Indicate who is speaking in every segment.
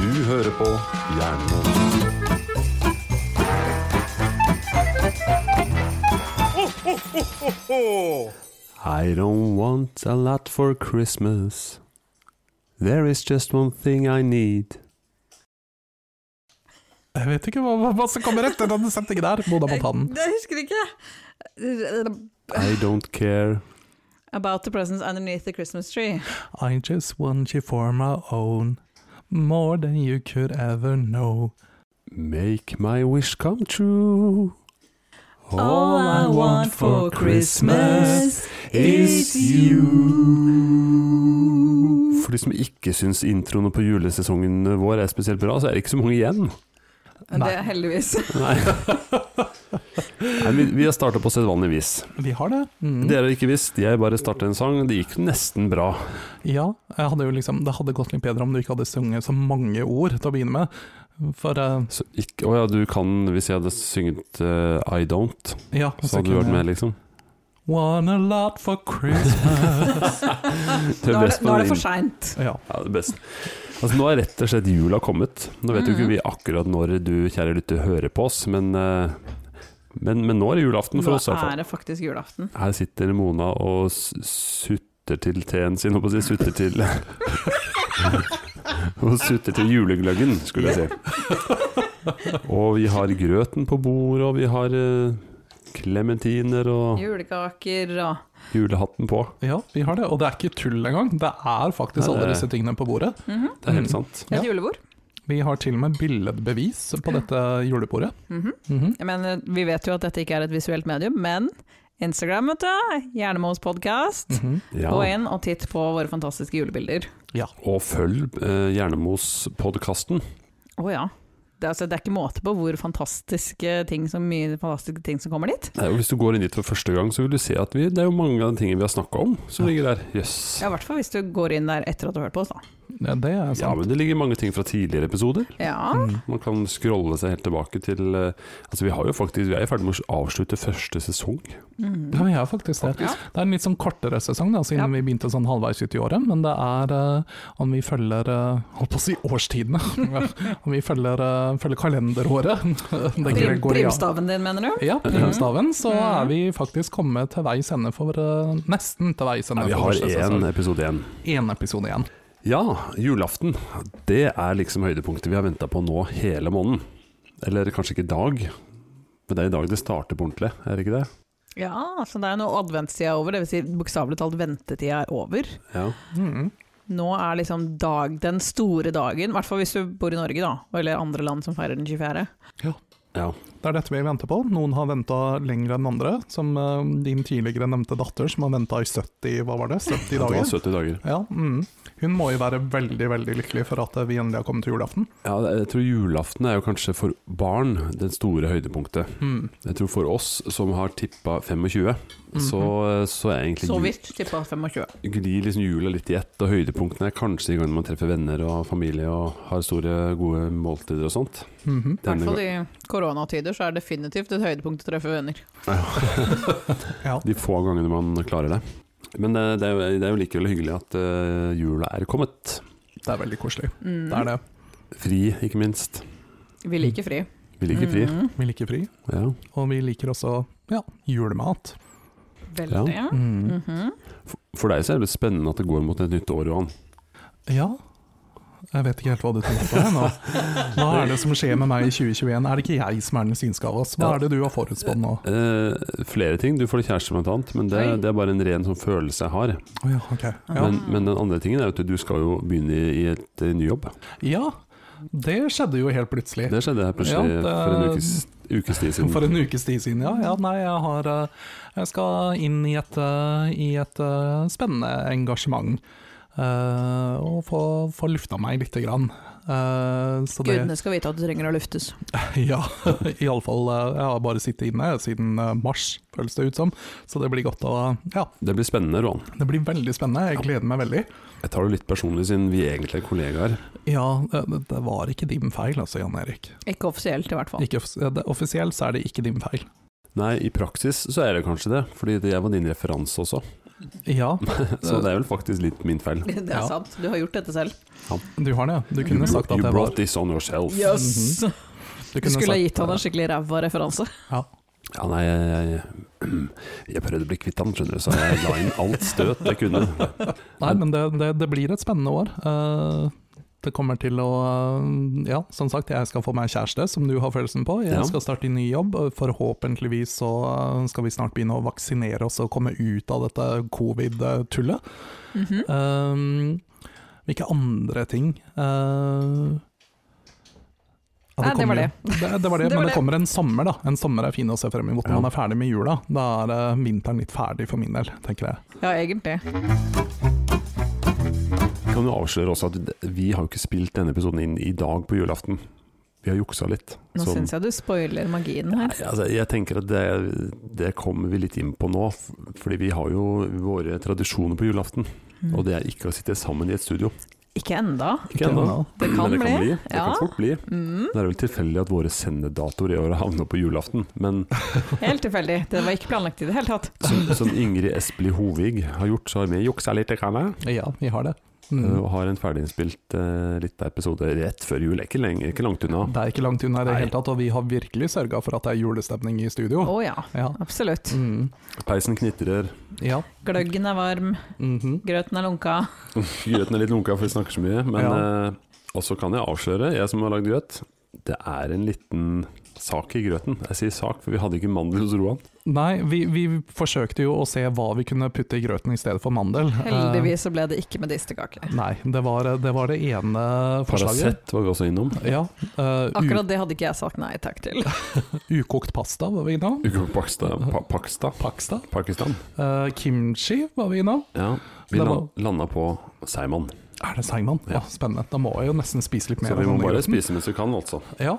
Speaker 1: Du hører på Jernbanen. I don't want a lot for Christmas. There is just one thing I need.
Speaker 2: Jeg vet ikke hva, hva, hva som kommer etter den sendingen der. Mona Montanen.
Speaker 3: Det husker jeg ikke.
Speaker 1: I don't care.
Speaker 3: About the presents underneath the Christmas tree.
Speaker 2: I just want you for my own. More than you could ever know.
Speaker 1: Make my wish come true.
Speaker 3: All I want for Christmas
Speaker 1: is
Speaker 3: is
Speaker 1: you. For de som ikke syns introene på julesesongen vår er spesielt bra, så er det ikke så mange igjen.
Speaker 3: Det er heldigvis.
Speaker 1: Nei. Nei, vi, vi har starta på sedvanlig vis.
Speaker 2: Vi har det. Mm.
Speaker 1: Dere har ikke visst, jeg bare starta en sang. Det gikk nesten bra.
Speaker 2: Ja, jeg hadde jo liksom, det hadde gått litt bedre om du ikke hadde sunget så mange ord til å begynne med. For eh,
Speaker 1: Så ikke, å ja, du kan Hvis jeg hadde synget eh, I Don't,
Speaker 2: ja
Speaker 1: så hadde du vært med, liksom.
Speaker 2: One a lot for Christmas.
Speaker 1: er
Speaker 3: Nå er det,
Speaker 1: best på
Speaker 3: nå er det
Speaker 1: den
Speaker 3: for seint.
Speaker 2: ja.
Speaker 1: Ja, det beste. Altså, nå er rett og slett jula kommet. Nå vet
Speaker 3: Mm.
Speaker 1: jo ikke vi akkurat når du, kjære lytter, hører på oss, men, eh, men, men nå er det julaften for
Speaker 3: Nå
Speaker 1: oss, i hvert fall.
Speaker 3: er det faktisk julaften.
Speaker 1: Her sitter Mona og s- sutter til teen sin, holdt på å si. Sutter til Og sutter til julegløggen, skulle jeg si. Og vi har grøten på bordet, og vi har eh, klementiner og
Speaker 3: Julekaker og
Speaker 1: julehatten på.
Speaker 2: ja, vi har det. Og det er ikke tull engang. Det er faktisk
Speaker 1: Nei, det-
Speaker 2: alle disse tingene på bordet.
Speaker 3: Mhm.
Speaker 1: Det er
Speaker 2: Mm.
Speaker 1: helt sant.
Speaker 3: Et
Speaker 2: Ja.
Speaker 3: julebord.
Speaker 2: Vi har til og med billedbevis på dette julebordet.
Speaker 3: Mhm.
Speaker 2: Mhm.
Speaker 3: Jeg mener, vi vet jo at dette ikke er et visuelt medium, men Instagram, vet du. Gjerne med oss podkast.
Speaker 2: Mhm.
Speaker 1: Ja.
Speaker 3: Gå inn og titt på våre fantastiske julebilder.
Speaker 1: Og følg eh, Jernemos-podkasten.
Speaker 3: Å ja. Det er, altså, det er ikke måte på hvor fantastiske ting som, mye fantastiske ting som kommer dit.
Speaker 1: Nei, og Hvis du går inn dit for første gang, så vil du se at vi, det er jo mange av de tingene vi har snakka om, som ligger der. Jøss.
Speaker 3: Ja, I hvert fall hvis du går inn der etter at du har hørt på oss, da.
Speaker 2: Ja, det er
Speaker 1: Ja,
Speaker 2: sant.
Speaker 1: men det ligger mange ting fra tidligere episoder.
Speaker 3: Ja.
Speaker 2: Mm.
Speaker 1: Man kan scrolle seg helt tilbake til eh, Altså Vi har jo faktisk Vi er i ferd med å avslutte første sesong.
Speaker 3: Mhm.
Speaker 2: Mm. Ja, vi er faktisk det.
Speaker 3: Ja.
Speaker 2: Det er en litt sånn kortere sesong, da, siden
Speaker 3: Ja.
Speaker 2: vi begynte sånn halvveis ut i året. Men det er eh, om vi følger eh, holdt på å si årstidene. om vi følger, eh, følger kalenderåret. det
Speaker 3: Prim,
Speaker 2: går i-
Speaker 3: primstaven din, mener du?
Speaker 2: Ja, primstaven. Så
Speaker 3: Mhm.
Speaker 2: er vi faktisk kommet til veis ende for eh, Nesten til veis
Speaker 1: Nei,
Speaker 2: ende.
Speaker 1: vi
Speaker 2: for
Speaker 1: har
Speaker 2: første sesong.
Speaker 1: én episode igjen.
Speaker 2: Én episode igjen.
Speaker 1: Ja, julaften. Det er liksom høydepunktet vi har venta på nå hele måneden. Eller kanskje ikke i dag, men det er i dag det starter på ordentlig, er det ikke det?
Speaker 3: Ja, så det er nå adventstida er over, dvs. Si bokstavelig talt ventetida er over.
Speaker 1: Ja.
Speaker 2: Mhm.
Speaker 3: Nå er liksom dag, den store dagen, i hvert fall hvis du bor i Norge, da, eller andre land som feirer den 24.
Speaker 1: ja.
Speaker 2: Det er dette vi venter på. Noen har venta lenger enn andre. Som eh, din tidligere nevnte datter, som har venta i 70 hva var det? 70
Speaker 1: Det var
Speaker 2: dager.
Speaker 1: 70 dager.
Speaker 2: Ja, mm. Hun må jo være veldig veldig lykkelig for at vi endelig har kommet til julaften.
Speaker 1: Ja, jeg tror julaften er jo kanskje for barn den store høydepunktet.
Speaker 2: Mm.
Speaker 1: Jeg tror for oss som har tippa 25,
Speaker 2: Mm-hmm.
Speaker 1: så, så er egentlig
Speaker 3: Så
Speaker 1: jul-
Speaker 3: vidt tippa 25.
Speaker 1: glir liksom jula litt i ett, og høydepunktene er kanskje i gang man treffer venner og familie og har store, gode måltider og sånt.
Speaker 2: Mhm.
Speaker 3: I hvert fall
Speaker 1: gang-
Speaker 3: i koronatider så er det definitivt et høydepunkt å treffe venner.
Speaker 2: Ja.
Speaker 1: de få gangene man klarer det. Men eh, det er jo, det er jo likevel hyggelig at eh, jula er kommet.
Speaker 2: Det er veldig koselig.
Speaker 3: Mm.
Speaker 2: Det er det.
Speaker 1: Fri, ikke minst.
Speaker 3: Vi liker fri.
Speaker 1: Vi liker fri.
Speaker 3: Mm.
Speaker 2: Vi liker fri,
Speaker 1: Ja.
Speaker 2: og vi liker også ja, julemat.
Speaker 3: Veldig. Mm-hmm. Ja.
Speaker 2: Mm.
Speaker 1: For- For deg så er det spennende at det går mot et nytt år, Johan.
Speaker 2: Ja, jeg vet ikke helt hva du tenker på her nå. Hva er det som skjer med meg i 2021? Er det ikke jeg som er den synske av oss? Hva er det du har forutspådd nå?
Speaker 1: Eh, flere ting. Du får deg kjæreste, blant annet, men det,
Speaker 3: Oi.
Speaker 1: det er bare en ren sånn følelse jeg har.
Speaker 2: Å ja, ok. Ja.
Speaker 1: Men, men den andre tingen er jo at du skal jo begynne i, i et eh, ny jobb.
Speaker 2: ja, det skjedde jo helt plutselig.
Speaker 1: Det skjedde her plutselig
Speaker 2: Ja, det-
Speaker 1: for en ukes, ukes tid siden.
Speaker 2: For en ukes tid siden, ja. ja nei, jeg, har, eh, jeg skal inn i et, eh, i et eh, spennende engasjement. eh, og få, få lufta meg lite grann. Eh, så det,
Speaker 3: Gudene skal vite at du trenger å luftes.
Speaker 2: ja, iallfall. Uh, jeg har bare sittet inne siden eh, mars, føles det ut som. Så det blir godt å Ja,
Speaker 1: Det blir spennende, Roan.
Speaker 2: det blir veldig spennende. Jeg gleder meg veldig.
Speaker 1: Jeg tar det litt personlig siden vi egentlig er kollegaer.
Speaker 2: Ja, eh, det, det var ikke din feil altså, Jan Erik.
Speaker 3: Ikke offisielt, i hvert fall.
Speaker 2: Ikke, offis- eh, det, offisielt så er det ikke din feil.
Speaker 1: Nei, i praksis så er det kanskje det, fordi det var din referanse også.
Speaker 2: Ja,
Speaker 1: Så det er vel faktisk litt min feil.
Speaker 3: Det er
Speaker 2: Ja.
Speaker 3: sant, du har gjort dette selv.
Speaker 2: du har det, ja. Du
Speaker 1: You,
Speaker 2: kunne sagt at
Speaker 1: you
Speaker 2: det var
Speaker 1: brought this on yourself.
Speaker 2: Ja.
Speaker 3: Yes.
Speaker 2: Du
Speaker 3: Du
Speaker 2: kunne
Speaker 3: skulle ha
Speaker 2: sagt-
Speaker 3: gitt han en skikkelig ræva referanse.
Speaker 2: Ja.
Speaker 1: Ja, nei, jeg, jeg, jeg prøvde å bli kvitt han, skjønner du, så jeg la inn alt støt jeg kunne.
Speaker 2: Nei, men det, det, det blir et spennende år. Eh, det kommer til å eh, Ja, som sagt, jeg skal få meg kjæreste, som du har følelsen på. Jeg
Speaker 1: Ja.
Speaker 2: skal starte i ny jobb. og Forhåpentligvis så eh, skal vi snart begynne å vaksinere oss og komme ut av dette covid-tullet.
Speaker 3: Mhm.
Speaker 2: Eh, hvilke andre ting eh, ja,
Speaker 3: Nei, det
Speaker 2: kommer-
Speaker 3: var det.
Speaker 2: det. Det var det,
Speaker 3: Det var
Speaker 2: men
Speaker 3: det.
Speaker 2: det kommer en sommer, da. En sommer er fin å se frem mot når
Speaker 1: Ja.
Speaker 2: man er ferdig med jula. Da er eh, vinteren litt ferdig for min del, tenker jeg.
Speaker 3: Ja, egentlig.
Speaker 1: Jeg kan jo avsløre også at vi har jo ikke spilt denne episoden inn i dag på julaften. Vi har juksa litt.
Speaker 3: Nå
Speaker 1: Så-
Speaker 3: syns jeg du spoiler magien her.
Speaker 1: Nei, altså, jeg tenker at det, det kommer vi litt inn på nå, f- fordi vi har jo våre tradisjoner på julaften. Og det er ikke å sitte sammen i et studio.
Speaker 3: Mm. Ikke enda.
Speaker 1: Ikke ennå.
Speaker 3: Det
Speaker 1: Men
Speaker 3: kan
Speaker 1: det kan
Speaker 3: bli.
Speaker 1: bli. Det
Speaker 3: Ja.
Speaker 1: kan fort bli.
Speaker 3: Mm.
Speaker 1: Det er vel tilfeldig at våre sendedatoer i år havner på julaften, men
Speaker 3: Helt tilfeldig. Det var ikke planlagt i det hele tatt.
Speaker 1: som, som Ingrid Espelid Hovig har gjort, så har vi juksa litt, det kan jeg.
Speaker 2: Ja, vi har det. Mm.
Speaker 1: Eh, Og har en ferdiginnspilt uh, liten episode rett før jul. Er Ikke, lenge, ikke langt unna.
Speaker 2: Det er ikke langt unna i det
Speaker 1: Nei.
Speaker 2: hele tatt, og vi har virkelig sørga for at det er julestemning i
Speaker 3: Å
Speaker 2: studio.
Speaker 3: ja,
Speaker 2: Ja.
Speaker 3: absolutt.
Speaker 2: Mm.
Speaker 1: Peisen knitrer,
Speaker 2: ja.
Speaker 3: Gløggen er varm,
Speaker 2: Mhm.
Speaker 3: grøten er lunka.
Speaker 1: grøten er litt lunka for vi snakker så mye. Men
Speaker 2: Ja.
Speaker 1: eh, Og så kan jeg avsløre, jeg som har lagd grøt, det er en liten sak i grøten. Jeg sier sak, for vi hadde ikke mandel hos Roan.
Speaker 2: Nei, vi, vi forsøkte jo å se hva vi kunne putte i grøten i stedet for mandel. Eh,
Speaker 3: Heldigvis så ble det ikke medisterkake.
Speaker 2: nei, det var det, var det ene forslaget.
Speaker 1: Paracet var vi også innom.
Speaker 2: Ja, eh, u
Speaker 3: Akkurat det hadde ikke jeg sagt nei takk til.
Speaker 2: ukokt pasta var vi innom.
Speaker 1: Ugo Paksta, pa Paksta,
Speaker 2: Paksta.
Speaker 1: Pakistan.
Speaker 2: Eh, kimchi var vi innom.
Speaker 1: Ja, vi
Speaker 2: Det
Speaker 1: la,
Speaker 2: var-
Speaker 1: landa på Seiman.
Speaker 2: Er det seigmann?
Speaker 1: Ja.
Speaker 2: Ja. spennende. Da må jeg jo nesten spise litt mer.
Speaker 1: Så vi
Speaker 2: av
Speaker 1: må
Speaker 2: denne
Speaker 1: bare
Speaker 2: grøten.
Speaker 1: spise mens vi kan, altså.
Speaker 2: Ja.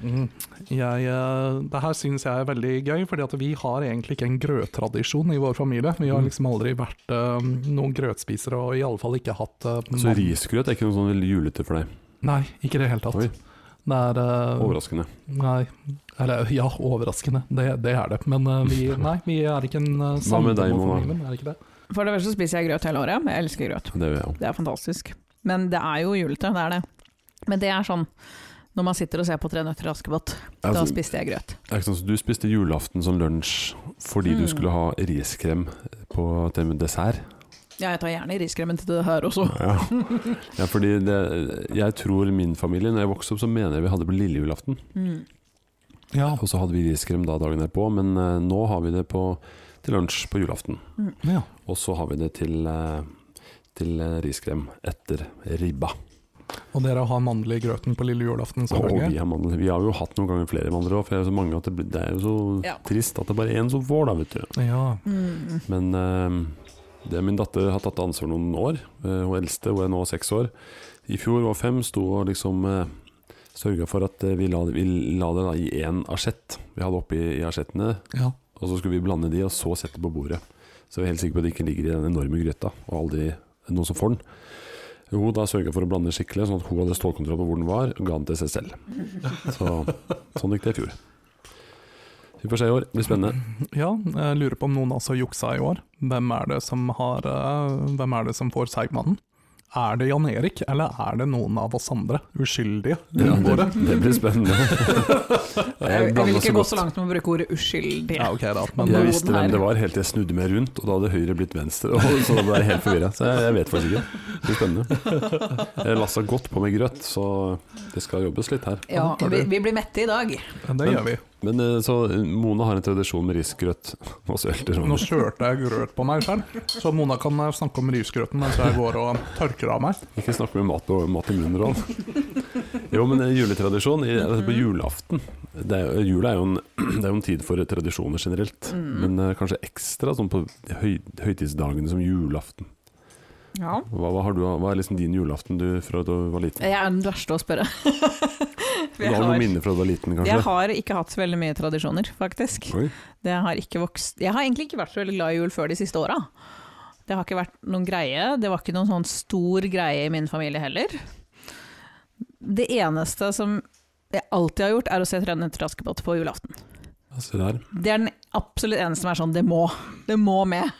Speaker 1: Mhm.
Speaker 2: Mm. Jeg, eh, det her syns jeg er veldig gøy, fordi at vi har egentlig ikke en grøttradisjon i vår familie. Vi
Speaker 1: Mhm.
Speaker 2: har liksom aldri vært eh, noen grøtspisere, og i alle fall ikke hatt eh,
Speaker 1: Så
Speaker 3: Mm.
Speaker 2: mann-
Speaker 1: risgrøt er ikke noe sånn julete for deg.
Speaker 2: Nei, ikke i det hele tatt.
Speaker 1: Oi.
Speaker 2: Det er
Speaker 3: Mm.
Speaker 2: eh,
Speaker 1: Overraskende.
Speaker 2: Nei. Eller eh, ja, overraskende. Det, det er det. Men eh, vi, nei, vi er ikke en uh,
Speaker 1: Hva med deg, Mona?
Speaker 2: familie, er ikke det?
Speaker 3: For det første spiser jeg grøt hele året, men jeg elsker grøt.
Speaker 1: Det gjør jeg òg.
Speaker 3: Det er fantastisk. Men det er jo julete, det er det. Men det er sånn når man sitter og ser på Tre nøtter til Askepott. Da
Speaker 1: Altså,
Speaker 3: spiste jeg grøt.
Speaker 1: Det er ikke sånn, så du spiste julaften som lunsj fordi du
Speaker 3: Mm.
Speaker 1: skulle ha riskrem på, til dessert?
Speaker 3: Ja, jeg tar gjerne riskremen til det her også.
Speaker 1: Ja. ja, fordi det, jeg tror min familie, når jeg vokste opp, så mener jeg vi hadde på lille julaften.
Speaker 3: Mm.
Speaker 2: Ja.
Speaker 1: Og så hadde vi riskrem da dagen derpå, men eh, nå har vi det på, til lunsj på julaften.
Speaker 2: ja.
Speaker 1: Og så har vi det til, eh, til eh, riskrem etter ribba.
Speaker 2: Og dere har mandel i grøten på lille julaften,
Speaker 1: Og
Speaker 2: selvfølgelig.
Speaker 1: vi har mandel. Vi har jo hatt noen ganger flere mandler òg, for det er jo så mange at det, blir- det er jo så
Speaker 3: Ja.
Speaker 1: trist at det bare er én som får, da, vet du.
Speaker 2: ja.
Speaker 3: Mm.
Speaker 1: Men eh, det min datter har tatt ansvar noen år. Eh, hun eldste hun er nå seks år. I fjor var fem, sto og liksom uh, sørga for at eh, vi, la, vi la det da i én asjett. Vi hadde oppi i asjettene,
Speaker 2: ja.
Speaker 1: og så skulle vi blande de, og så sette på bordet. Så vi er helt sikre på at det ikke ligger i den enorme grøta, og aldri noen som får den. Hun da sørga for å blande skikkelig, sånn at hun hadde stålkontroll på hvor den var, og ga den til seg selv. Så, sånn gikk det i fjor. Vi får se i år, det blir spennende.
Speaker 2: Ja, jeg lurer på om noen også juksa i år. Hvem er det som, har, eh, hvem er det som får Seigmannen? Er det Jan Erik, eller er det noen av oss andre uskyldige?
Speaker 1: Ja, det,
Speaker 2: våre?
Speaker 1: det blir spennende.
Speaker 3: Jeg, jeg
Speaker 1: blander så
Speaker 3: vil ikke gå
Speaker 1: godt.
Speaker 3: så langt med å bruke ordet uskyldig.
Speaker 2: Ja, ok da. Men,
Speaker 3: Ja.
Speaker 1: Jeg
Speaker 3: Noen
Speaker 1: visste hvem
Speaker 3: her.
Speaker 1: det var helt til jeg snudde meg rundt, og da hadde høyre blitt venstre. Og så ble jeg helt forvirra. Så jeg, jeg vet faktisk ikke. Det blir spennende. Jeg lassa godt på med grøt, så det skal jobbes litt her.
Speaker 3: Ja, vi, vi blir mette i dag.
Speaker 2: eh, det gjør vi.
Speaker 1: Men eh, så Mona har en tradisjon med risgrøt. Og så elter hun.
Speaker 2: Nå kjørte jeg grøt på meg selv, så Mona kan eh, snakke om risgrøten mens jeg går og tørker av meg.
Speaker 1: Ikke snakk med mat, og, mat i munnen, Rolf. Jo, men eh, juletradisjon i- altså på julaften det er, jo- Jula er jo, en, det er jo en tid for tradisjoner generelt,
Speaker 3: Mm.
Speaker 1: men eh, kanskje ekstra sånn på høy, høytidsdagene som julaften.
Speaker 3: Ja.
Speaker 1: Hva, hva, har du, hva er liksom din julaften du fra da du var liten?
Speaker 3: Jeg er den verste å spørre. For
Speaker 1: Du
Speaker 3: jeg
Speaker 1: har noen
Speaker 3: har-
Speaker 1: minner fra du var liten, kanskje?
Speaker 3: Jeg har ikke hatt så veldig mye tradisjoner, faktisk.
Speaker 1: Oi.
Speaker 3: Det har ikke vokst Jeg har egentlig ikke vært så veldig glad i jul før de siste åra. Det har ikke vært noen greie. Det var ikke noen sånn stor greie i min familie heller. Det eneste som jeg alltid har gjort, er å se 'Tre nøtter til Askepott' på julaften.
Speaker 1: Se der.
Speaker 3: Det er den absolutt eneste som er sånn, det må. Det må med.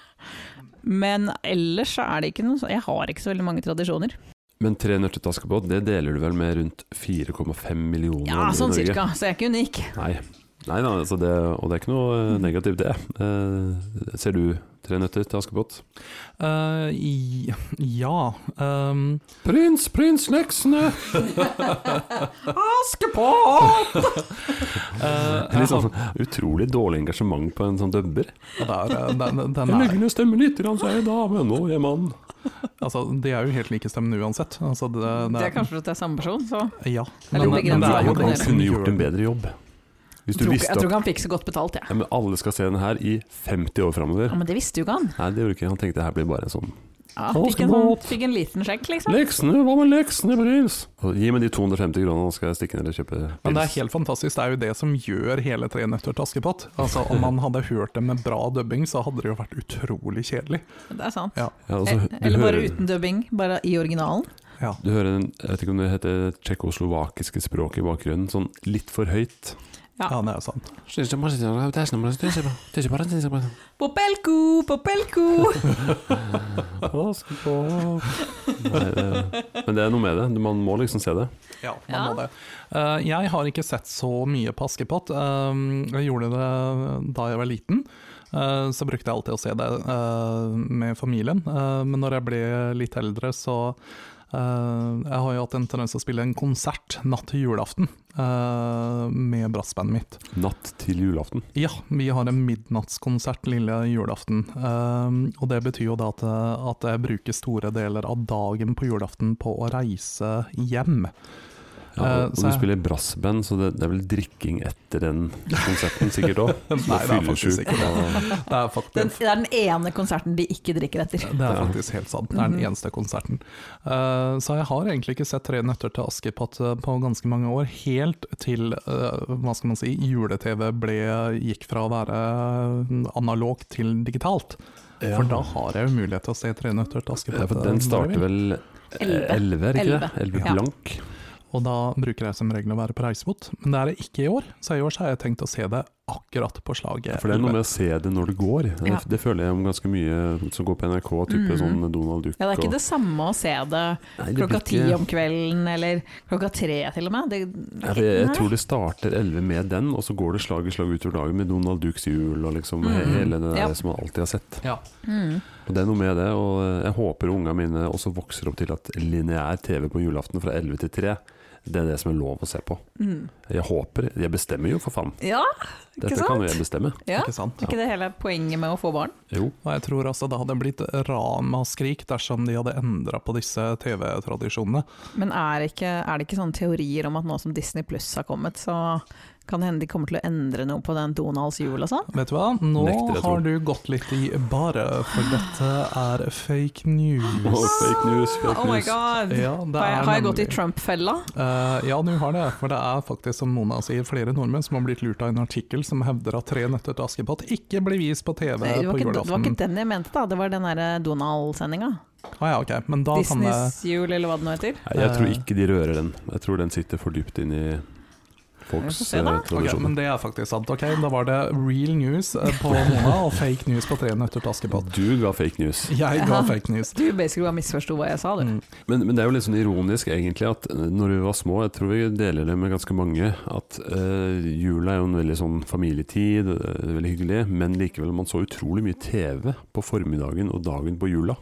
Speaker 3: Men ellers så er det ikke noe sånn Jeg har ikke så veldig mange tradisjoner.
Speaker 1: Men tre nøtter til Askepott, det deler du vel med rundt 4,5 millioner
Speaker 3: Ja,
Speaker 1: andre i
Speaker 3: sånn
Speaker 1: Norge?
Speaker 3: cirka. Så jeg er ikke unik.
Speaker 1: Nei. Nei, nei altså det, og det er ikke noe eh, negativt, det. Eh, ser du tre nøtter til Askepott?
Speaker 2: Eh, i, ja ehm,
Speaker 1: Prins, prins, leksene!
Speaker 3: Askepott!
Speaker 2: eh,
Speaker 1: Litt
Speaker 2: jeg har-
Speaker 1: sånn utrolig dårlig engasjement på en sånn dubber.
Speaker 2: Ja, det er, eh, den, den
Speaker 1: Jeg
Speaker 2: er,
Speaker 1: legger ned stemmen litt, sånn- grann, så er jeg dame, nå er jeg mann.
Speaker 2: altså, de er jo helt like stemmende uansett. Altså, det,
Speaker 3: Det er kanskje fordi det er samme person, så
Speaker 2: Ja.
Speaker 3: er litt
Speaker 2: det jo
Speaker 3: begrenset hvor godt
Speaker 2: det
Speaker 1: Man
Speaker 3: imponerende.
Speaker 2: som
Speaker 1: kunne gjort en
Speaker 2: gjør det.
Speaker 1: bedre jobb. Hvis
Speaker 3: jeg
Speaker 1: du
Speaker 3: tror, ikke- jeg
Speaker 1: visste
Speaker 3: tror
Speaker 1: at
Speaker 3: ikke han fikk så godt betalt, jeg.
Speaker 1: ja, men alle skal se den her i 50 år
Speaker 3: Ja,
Speaker 1: framover.
Speaker 3: men det visste jo ikke han.
Speaker 1: Nei, det gjorde ikke han. tenkte det her blir bare en sånn
Speaker 3: Ja, fikk, en sånn,
Speaker 1: Askepott.
Speaker 3: fikk en liten sjekk, liksom.
Speaker 1: Leksene, hva med leksene, prins? Og Gi meg de 250 kronene, nå skal jeg stikke ned og kjøpe pils.
Speaker 2: Men det er helt fantastisk. Det er jo det som gjør hele Tre nøtter til Askepott. Altså, om man hadde hørt det med bra dubbing, så hadde det jo vært utrolig kjedelig.
Speaker 3: Det er sant. Eh,
Speaker 1: ja, altså, du
Speaker 3: Eller bare
Speaker 1: hører-
Speaker 3: uten dubbing, bare i originalen.
Speaker 2: Ja.
Speaker 1: Du hører den, jeg vet ikke om det heter det tsjekkoslovakiske språket i bakgrunnen, sånn litt for høyt.
Speaker 3: Ja.
Speaker 2: Ja, det er jo sant.
Speaker 3: Popelko, popelko!
Speaker 1: Nei, det, men det er noe med det, man må liksom se det.
Speaker 2: Ja, man
Speaker 3: Ja.
Speaker 2: må det. Eh, jeg har ikke sett så mye på Askepott. Eh, jeg gjorde det da jeg var liten. eh, så brukte jeg alltid å se det eh, med familien. Eh, men når jeg ble litt eldre, så eh, Jeg har jo hatt en tendens til å spille en konsert natt til julaften eh, med brassbandet mitt.
Speaker 1: Natt til julaften.
Speaker 2: Ja, vi har en midnattskonsert lille julaften. Ehm, og det betyr jo da at, at jeg bruker store deler av dagen på julaften på å reise hjem. Eh,
Speaker 1: Ja, og
Speaker 2: så
Speaker 1: du
Speaker 2: jeg-
Speaker 1: spiller brassband, så det, det er vel drikking etter den konserten sikkert òg.
Speaker 2: Nei, det er faktisk ikke
Speaker 1: det.
Speaker 2: Det er faktisk,
Speaker 3: Den, det er den ene konserten de ikke drikker etter.
Speaker 2: det er
Speaker 1: Ja.
Speaker 2: faktisk helt sant. Det er den
Speaker 3: Mhm.
Speaker 2: eneste konserten. Eh, så jeg har egentlig ikke sett Tre nøtter til Askepott eh, på ganske mange år, helt til eh, hva skal man si, jule-TV ble- gikk fra å være analog til digitalt. For da har jeg jo mulighet til å se Tre nøtter til Askepott.
Speaker 1: Ja, for
Speaker 2: eh, når
Speaker 1: den
Speaker 2: jeg
Speaker 1: starter
Speaker 2: vil.
Speaker 1: vel
Speaker 3: Elleve.
Speaker 1: elleve, er det ikke det? Elleve
Speaker 3: Ja.
Speaker 1: blank.
Speaker 2: Og da bruker jeg som regel å være på reisebot, men det er det ikke i år. Så i år så har jeg tenkt å se det akkurat på slaget.
Speaker 1: For det er noe med å se det når det går. Det,
Speaker 3: Ja.
Speaker 1: det føler jeg om ganske mye som går på NRK, type
Speaker 3: Mhm.
Speaker 1: sånn Donald Duck
Speaker 3: Ja, det er ikke
Speaker 1: og-
Speaker 3: det samme å se
Speaker 1: Nei,
Speaker 3: det
Speaker 1: det blir
Speaker 3: klokka ti
Speaker 1: ikke-
Speaker 3: om kvelden, eller klokka tre til og med. Det,
Speaker 1: Ja, for jeg, jeg tror det starter 11 med den, og så går det slag i slag utover dagen med Donald Dukes jul og liksom he-
Speaker 3: Mhm.
Speaker 1: hele det der
Speaker 3: Ja.
Speaker 1: som man alltid har sett.
Speaker 2: Ja.
Speaker 3: Mm.
Speaker 1: Og Det er noe med det, og eh, jeg håper unga mine også vokser opp til at lineær TV på julaften fra 11 til 3, det er det som er lov å se på.
Speaker 3: Mm.
Speaker 1: Jeg håper, jeg bestemmer jo for faen.
Speaker 3: Ja, ikke
Speaker 1: Dette kan
Speaker 3: sant?
Speaker 1: jo jeg bestemme.
Speaker 3: Ja.
Speaker 2: Ikke sant?
Speaker 3: Er ikke det hele poenget med å få barn?
Speaker 1: Jo.
Speaker 2: Og jeg tror altså det hadde blitt ramaskrik dersom de hadde endra på disse TV-tradisjonene.
Speaker 3: Men er, ikke, er det ikke sånne teorier om at nå som Disney Pluss har kommet, så kan det hende de kommer til å endre noe på den Donalds jul og sånn?
Speaker 2: Vet du hva, nå
Speaker 1: Nekter jeg, tror.
Speaker 2: har du gått litt i bare, for dette er fake
Speaker 1: Og
Speaker 2: news.
Speaker 1: fake news, fake
Speaker 3: Oh my
Speaker 1: news.
Speaker 3: god!
Speaker 2: Ja, det
Speaker 3: Har jeg, har jeg gått i
Speaker 2: nemlig-
Speaker 3: Trump-fella?
Speaker 2: Eh, ja, du har det. For det er faktisk, som Mona sier, flere nordmenn som har blitt lurt av en artikkel som hevder at Tre nøtter til Askepott ikke blir vist på TV
Speaker 3: Nei, Det, var
Speaker 2: på
Speaker 3: ikke- det var
Speaker 2: julaften.
Speaker 3: ikke den jeg mente, da. Det var den derre Donald-sendinga.
Speaker 2: Ah, ja, ok. Men da kan det
Speaker 3: Disneys jul, eller hva det nå heter.
Speaker 1: Nei, jeg tror ikke de rører den. Jeg tror den sitter for dypt inn i folks
Speaker 3: Vi får se,
Speaker 1: eh,
Speaker 3: da.
Speaker 2: Ok,
Speaker 1: tradisjoner.
Speaker 2: men det er faktisk sant. Ok, Da var det real news eh, på Mona og fake news på Tre nøtter til Askepott.
Speaker 1: Du ga fake news.
Speaker 2: Jeg
Speaker 3: Ja.
Speaker 2: ga fake news.
Speaker 3: Du basically bare misforsto hva jeg sa, du.
Speaker 2: Mm.
Speaker 1: Men, men det er jo litt sånn ironisk egentlig at eh, når vi var små, jeg tror vi deler det med ganske mange, at eh, jula er jo en veldig sånn familietid, eh, det er veldig hyggelig, men likevel man så utrolig mye TV på formiddagen og dagen på jula.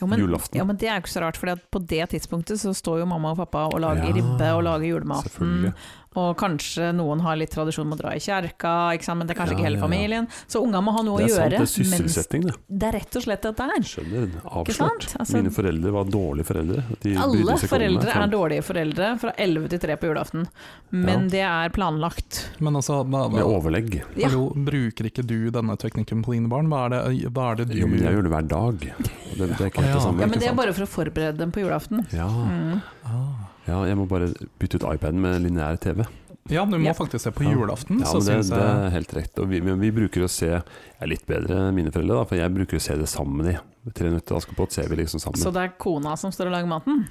Speaker 3: Jo, men,
Speaker 1: Julaften.
Speaker 3: ja, men det er jo ikke så rart, for på det tidspunktet så står jo mamma og pappa og lager
Speaker 1: Ja,
Speaker 3: ribbe og lager julematen.
Speaker 1: Selvfølgelig.
Speaker 3: Og kanskje noen har litt tradisjon med å dra i kjerka, ikke sant? men det er kanskje
Speaker 1: Ja,
Speaker 3: ikke hele
Speaker 1: ja, ja.
Speaker 3: familien. Så unga må ha noe
Speaker 1: det
Speaker 3: å
Speaker 1: er sant,
Speaker 3: gjøre.
Speaker 1: det er sysselsetting det.
Speaker 3: mens det er rett og slett dette her.
Speaker 1: Skjønner,
Speaker 3: Ikke
Speaker 1: avslørt.
Speaker 3: sant? Altså,
Speaker 1: Mine foreldre var dårlige foreldre. De brydde seg
Speaker 3: alle
Speaker 1: ikke om meg,
Speaker 3: foreldre
Speaker 1: for-
Speaker 3: er dårlige foreldre fra 11 til 3 på julaften, men
Speaker 1: Ja.
Speaker 3: det er planlagt.
Speaker 2: Men altså, hva,
Speaker 1: Med
Speaker 2: hva,
Speaker 1: overlegg.
Speaker 3: Ja.
Speaker 2: hallo, bruker ikke du denne teknikken på dine barn? Hva er det, hva er det du
Speaker 1: Jo, men jeg gjør det hver dag. Det, det er ikke helt
Speaker 2: Ja.
Speaker 1: det samme.
Speaker 3: Ja,
Speaker 1: ikke
Speaker 3: men det er
Speaker 1: sant?
Speaker 3: bare for å forberede dem på julaften.
Speaker 1: Ja.
Speaker 3: Mm.
Speaker 2: Ah.
Speaker 1: ja, jeg må bare bytte ut iPaden med lineær TV.
Speaker 2: Ja, du må
Speaker 3: Ja.
Speaker 2: faktisk se på
Speaker 1: Ja.
Speaker 3: Mm,
Speaker 2: julaften.
Speaker 1: Ja,
Speaker 2: så
Speaker 1: men det,
Speaker 2: synes
Speaker 1: det
Speaker 2: jeg
Speaker 1: er helt rett. Og vi, men vi bruker å se Jeg er litt bedre enn mine foreldre, da, for jeg bruker å se det sammen. i Tre nøtter til Askepott ser vi liksom sammen.
Speaker 3: Så det er kona som står og lager maten?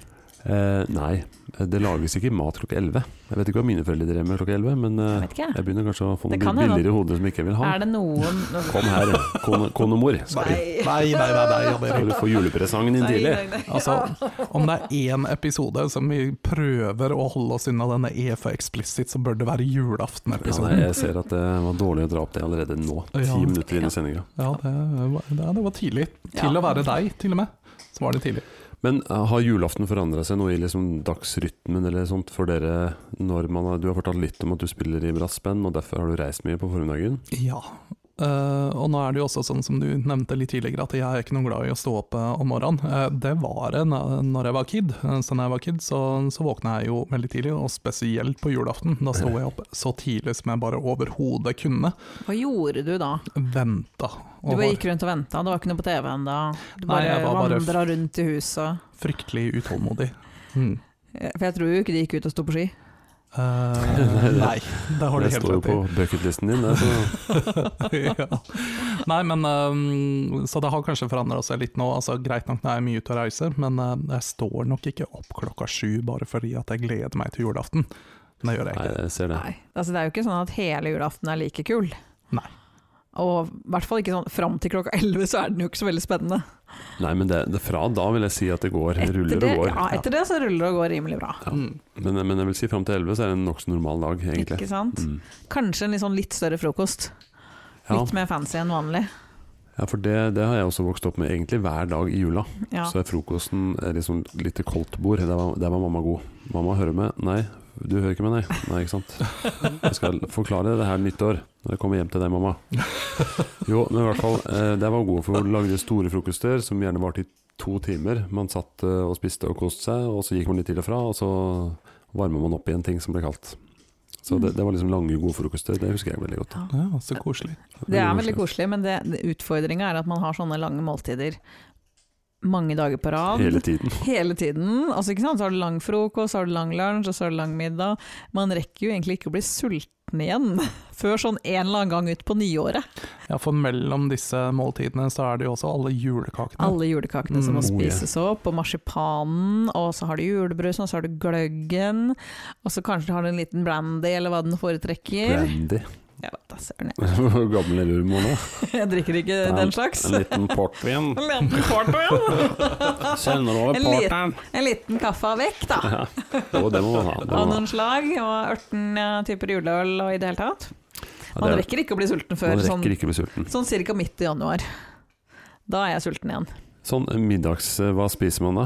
Speaker 1: Eh, nei, det lages ikke mat klokka 11. Jeg vet ikke hva mine foreldre drev med klokka 11, men eh,
Speaker 3: Jeg vet ikke.
Speaker 1: jeg begynner kanskje å få
Speaker 3: Det
Speaker 1: noen
Speaker 3: kan hende.
Speaker 1: billigere hoder som jeg ikke vil ha.
Speaker 3: Er det noen
Speaker 1: Kom her, kone, konemor. Skal, du-
Speaker 2: Nei, nei, nei, nei, Jan
Speaker 1: skal
Speaker 2: Erik.
Speaker 1: du få julepresangen din tidlig?
Speaker 2: Altså, om det er én episode som vi prøver å holde oss unna denne E for explicit, så bør det være
Speaker 1: Ja,
Speaker 3: sånn.
Speaker 1: nei,
Speaker 2: julaften-episoden.
Speaker 1: jeg ser at det var dårlig å dra opp det allerede nå, ti
Speaker 2: Ja.
Speaker 1: minutter inn i sendinga.
Speaker 2: Ja, det var, ja, det var tidlig. Til
Speaker 3: Ja.
Speaker 2: å være deg, til og med. Så var det tidlig.
Speaker 1: Men eh, har julaften forandra seg noe i liksom dagsrytmen eller sånt for dere? Når man har, du har fortalt litt om at du spiller i brassband, og derfor har du reist mye på formiddagen.
Speaker 2: Ja. Eh, og nå er det jo også sånn som du nevnte litt tidligere, at jeg er ikke noe glad i å stå opp eh, om morgenen. Eh, det var det na- når jeg var kid. Eh, så når jeg var kid, så, så våkna jeg jo veldig tidlig, og spesielt på julaften. Da sto jeg opp så tidlig som jeg bare overhodet kunne.
Speaker 3: Hva gjorde du da?
Speaker 2: Venta.
Speaker 3: Du
Speaker 2: Og
Speaker 3: bare
Speaker 2: var
Speaker 3: gikk rundt og venta, det var ikke noe på TV ennå. Du
Speaker 2: Nei,
Speaker 3: bare
Speaker 2: jeg var bare-
Speaker 3: vandret vandra rundt i huset.
Speaker 2: fryktelig utålmodig. Mm.
Speaker 3: For jeg tror jo ikke de gikk ut og sto på ski.
Speaker 2: Eh, nei, det har du
Speaker 1: Det
Speaker 2: helt
Speaker 1: står jo
Speaker 2: rett i.
Speaker 1: på bucketlisten din. Det, så.
Speaker 2: ja. Nei, men ehm, Så det har kanskje forandra seg litt nå. Altså, greit nok, det er mye ute og reiser, men ehm, jeg står nok ikke opp klokka sju bare fordi at jeg gleder meg til julaften. Det gjør jeg
Speaker 1: Nei,
Speaker 2: ikke.
Speaker 1: jeg ser det.
Speaker 3: Nei. Altså, det er jo ikke sånn at hele julaften er like kul.
Speaker 2: Nei.
Speaker 3: Og i hvert fall ikke sånn fram til klokka elleve, så er den jo ikke så veldig spennende.
Speaker 1: Nei, men det, det fra da vil jeg si at det går, ruller
Speaker 3: det,
Speaker 1: og går.
Speaker 3: Ja, etter det så ruller det og går rimelig bra.
Speaker 1: Ja.
Speaker 2: Mm.
Speaker 1: Men, men jeg vil si fram til 11 så er det en nokså normal dag, egentlig.
Speaker 3: Ikke sant?
Speaker 1: Mm.
Speaker 3: Kanskje en litt sånn litt større frokost.
Speaker 1: Ja.
Speaker 3: Litt mer fancy enn vanlig.
Speaker 1: ja, for det, det har jeg også vokst opp med egentlig hver dag i jula.
Speaker 3: Ja.
Speaker 1: Så er frokosten er liksom litt til koldt bord. Der var, der var mamma god. Mamma hører med. Nei, du hører ikke med, nei. Nei, ikke sant. Jeg skal forklare det her nyttår, når jeg kommer hjem til deg, mamma. Jo, men i hvert fall, eh, der var god for hun lagde store frokoster som gjerne varte i to timer. Man satt eh, og spiste og koste seg, og så gikk man litt til og fra, og så varmer man opp igjen ting som ble kaldt. Så det, det var liksom lange, gode frokoster. Det husker jeg veldig godt.
Speaker 2: Ja, så koselig.
Speaker 3: Det er veldig koselig, men det- det- utfordringa er at man har sånne lange måltider mange dager på rad.
Speaker 1: Hele tiden.
Speaker 3: Hele tiden. Altså, ikke sant? Så har du lang frokost, så har du lang lunsj, og så har du lang middag. Man rekker jo egentlig ikke å bli sulten igjen før sånn en eller annen gang ut på nyåret.
Speaker 2: Ja, for mellom disse måltidene så er det jo også alle julekakene.
Speaker 3: Alle julekakene som må
Speaker 1: Mm. Oh, ja.
Speaker 3: spises opp, og marsipanen, og så har du julebrusen, og så har du gløggen, og så kanskje du har en liten brandy, eller hva den foretrekker.
Speaker 1: Brandy.
Speaker 3: Jeg vet da søren, jeg.
Speaker 1: Hvor gammel er du, Mona?
Speaker 3: Jeg drikker ikke den slags.
Speaker 1: En liten portvin.
Speaker 3: En liten portvin.
Speaker 1: Sender over
Speaker 3: En liten- En liten kaffe av vekk, da.
Speaker 1: Ja. Jo, det må man ha. Det må
Speaker 3: Av
Speaker 1: man ha.
Speaker 3: noen slag, og ørten eh, typer juleøl og i det hele tatt.
Speaker 1: Ja,
Speaker 3: Man
Speaker 1: det er-
Speaker 3: rekker ikke å bli sulten
Speaker 1: man
Speaker 3: før sånn,
Speaker 1: rekker ikke å bli sulten.
Speaker 3: sånn ca. midt i januar. Da er jeg sulten igjen.
Speaker 1: Sånn eh, middags, eh, hva spiser man da?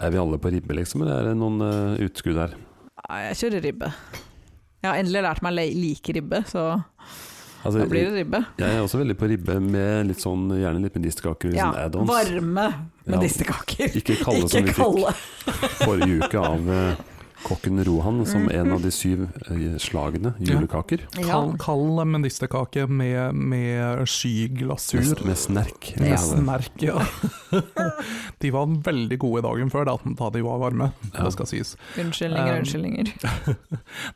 Speaker 1: Er vi alle på ribbe, liksom, eller er det noen eh, utskudd her?
Speaker 3: Nei, Jeg kjører ribbe. Jeg har endelig lært meg å le- like ribbe, så
Speaker 1: Altså,
Speaker 3: da blir det ribbe.
Speaker 1: Jeg er også veldig på ribbe med litt sånn, gjerne litt medisterkaker,
Speaker 3: Ja,
Speaker 1: sånn add-ons.
Speaker 3: varme
Speaker 1: Ja.
Speaker 3: medisterkaker.
Speaker 1: Ikke kalde
Speaker 3: Ikke
Speaker 1: som vi
Speaker 3: kalde.
Speaker 1: fikk forrige uke av eh, kokken Rohan, som en av de syv eh, slagene julekaker.
Speaker 3: Mm. Ja.
Speaker 2: Kald, kald medisterkake med, med skyglasur.
Speaker 1: Med, med snerk.
Speaker 3: Ja.
Speaker 2: Med snerk, ja. De var veldig gode dagen før, da, da de var varme.
Speaker 1: Ja.
Speaker 2: Det skal sies.
Speaker 3: Unnskyldninger,
Speaker 2: Um,
Speaker 3: unnskyldninger.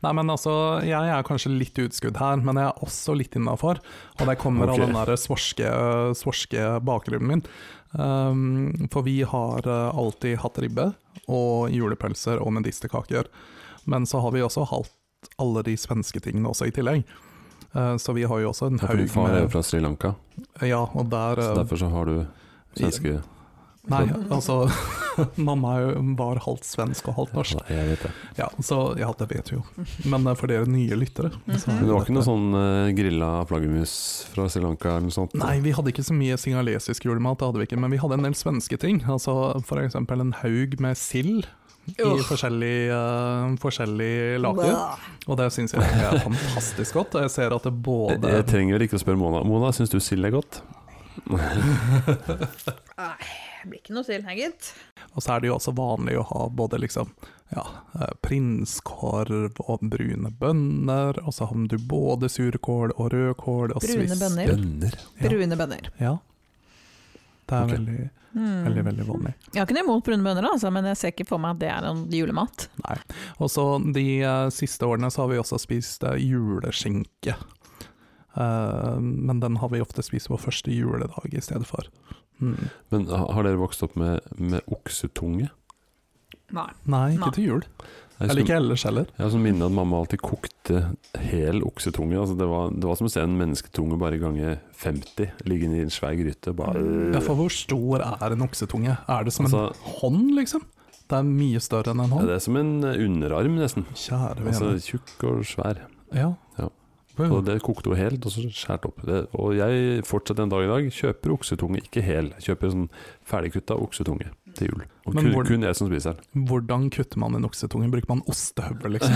Speaker 2: Nei, men altså, jeg er kanskje litt utskudd her, men jeg er også litt innafor. Og det kommer
Speaker 1: Ok.
Speaker 2: av den der svorske, svorske bakgrunnen min. Um, for vi har eh, alltid hatt ribbe og julepølser og medisterkaker. Men så har vi også hatt alle de svenske tingene også i tillegg. Eh, så vi har jo også en
Speaker 1: Ja, for Din
Speaker 2: haug
Speaker 1: far er jo
Speaker 2: med
Speaker 1: fra Sri Lanka,
Speaker 2: Ja, og der
Speaker 1: så
Speaker 2: eh,
Speaker 1: derfor så har du svenske
Speaker 2: Nei, altså Mamma er jo- var halvt svensk og halvt norsk.
Speaker 1: Ja, Jeg vet det.
Speaker 2: Ja, så ja, det vet vi jo. Men eh, for dere nye lyttere så er
Speaker 1: Men det var
Speaker 2: dette-
Speaker 1: ikke noe sånn eh, grilla flaggermus fra Sri Lanka eller noe sånt?
Speaker 2: Nei, vi hadde ikke så mye singalesisk julemat, det hadde vi ikke, men vi hadde en del svenske ting. Altså F.eks. en haug med sild i
Speaker 3: Ugh.
Speaker 2: forskjellig, eh, forskjellig laker. Og det syns jeg er fantastisk godt. Og jeg ser at det
Speaker 1: Jeg,
Speaker 2: både
Speaker 1: jeg trenger vel ikke å spørre Mona. Mona, syns du sild er godt?
Speaker 3: Det blir ikke noe sild her, gitt.
Speaker 2: Og så altså er det jo også vanlig å ha både liksom ja, eh, prinskorv og brune bønner, og så har du både surkål og rødkål og
Speaker 3: Brune
Speaker 2: sviss.
Speaker 3: bønner.
Speaker 1: Bønner.
Speaker 2: Ja.
Speaker 3: Brune bønner.
Speaker 2: Ja. Det er
Speaker 1: Ok.
Speaker 2: veldig,
Speaker 3: Mm.
Speaker 2: veldig, veldig vanlig.
Speaker 3: Jeg har ikke noe imot brune bønner, altså, men jeg ser ikke for meg at det er en julemat.
Speaker 2: Nei. Og så de eh, siste årene så har vi også spist eh, juleskinke. Eh, men den har vi ofte spist på første juledag i stedet for. Mm.
Speaker 1: Men ha- har dere vokst opp med, med oksetunge?
Speaker 3: Nei.
Speaker 2: Nei,
Speaker 3: Nei.
Speaker 2: ikke til jul.
Speaker 1: Jeg
Speaker 2: Eller
Speaker 1: husker,
Speaker 2: ikke ellers heller.
Speaker 1: jeg har sånn minne at mamma alltid kokte hel oksetunge. Altså det, var, det var som å se en mennesketunge bare gange 50 liggende i en svær gryte. Bare,
Speaker 2: Ja, for hvor stor er en oksetunge? Er det som
Speaker 1: Altså-
Speaker 2: en hånd, liksom? Det er mye større enn en
Speaker 1: ja,
Speaker 2: hånd.
Speaker 1: det er som en eh, underarm, nesten.
Speaker 2: Kjære vene.
Speaker 1: Altså tjukk og svær.
Speaker 2: ja.
Speaker 1: ja.
Speaker 2: Wow.
Speaker 1: Og det kokte jo helt, og så skjært opp. Det, og jeg fortsetter en dag i dag, kjøper oksetunge, ikke hel. Jeg Kjøper sånn ferdigkutta oksetunge til jul. Og
Speaker 2: Men
Speaker 1: kun,
Speaker 2: hvordan-
Speaker 1: kun jeg som spiser den.
Speaker 2: Hvordan kutter man en oksetunge? Bruker man ostehøvel, liksom?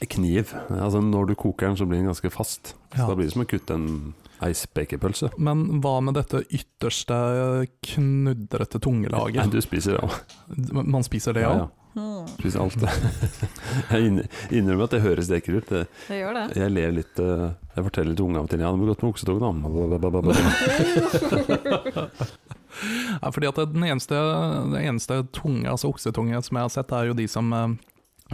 Speaker 1: Kniv. Altså Når du koker den, så blir den ganske fast.
Speaker 2: Ja.
Speaker 1: Så da blir det som å kutte en ei spekepølse.
Speaker 2: Men hva med dette ytterste eh, knudrete
Speaker 1: Nei,
Speaker 2: tungelaget?
Speaker 1: du spiser det òg.
Speaker 2: Man spiser det òg?
Speaker 3: Hmm,
Speaker 1: Spiser alt. jeg inn- innrømmer at det høres ekkelt ut. Det-
Speaker 3: det gjør det.
Speaker 1: Jeg ler litt eh, Jeg forteller til ungene til Ja, det må godt med oksetog, da. Blablabla.
Speaker 2: Ja. fordi at den eneste, den eneste tunge, altså oksetunge som jeg har sett, er jo de som eh,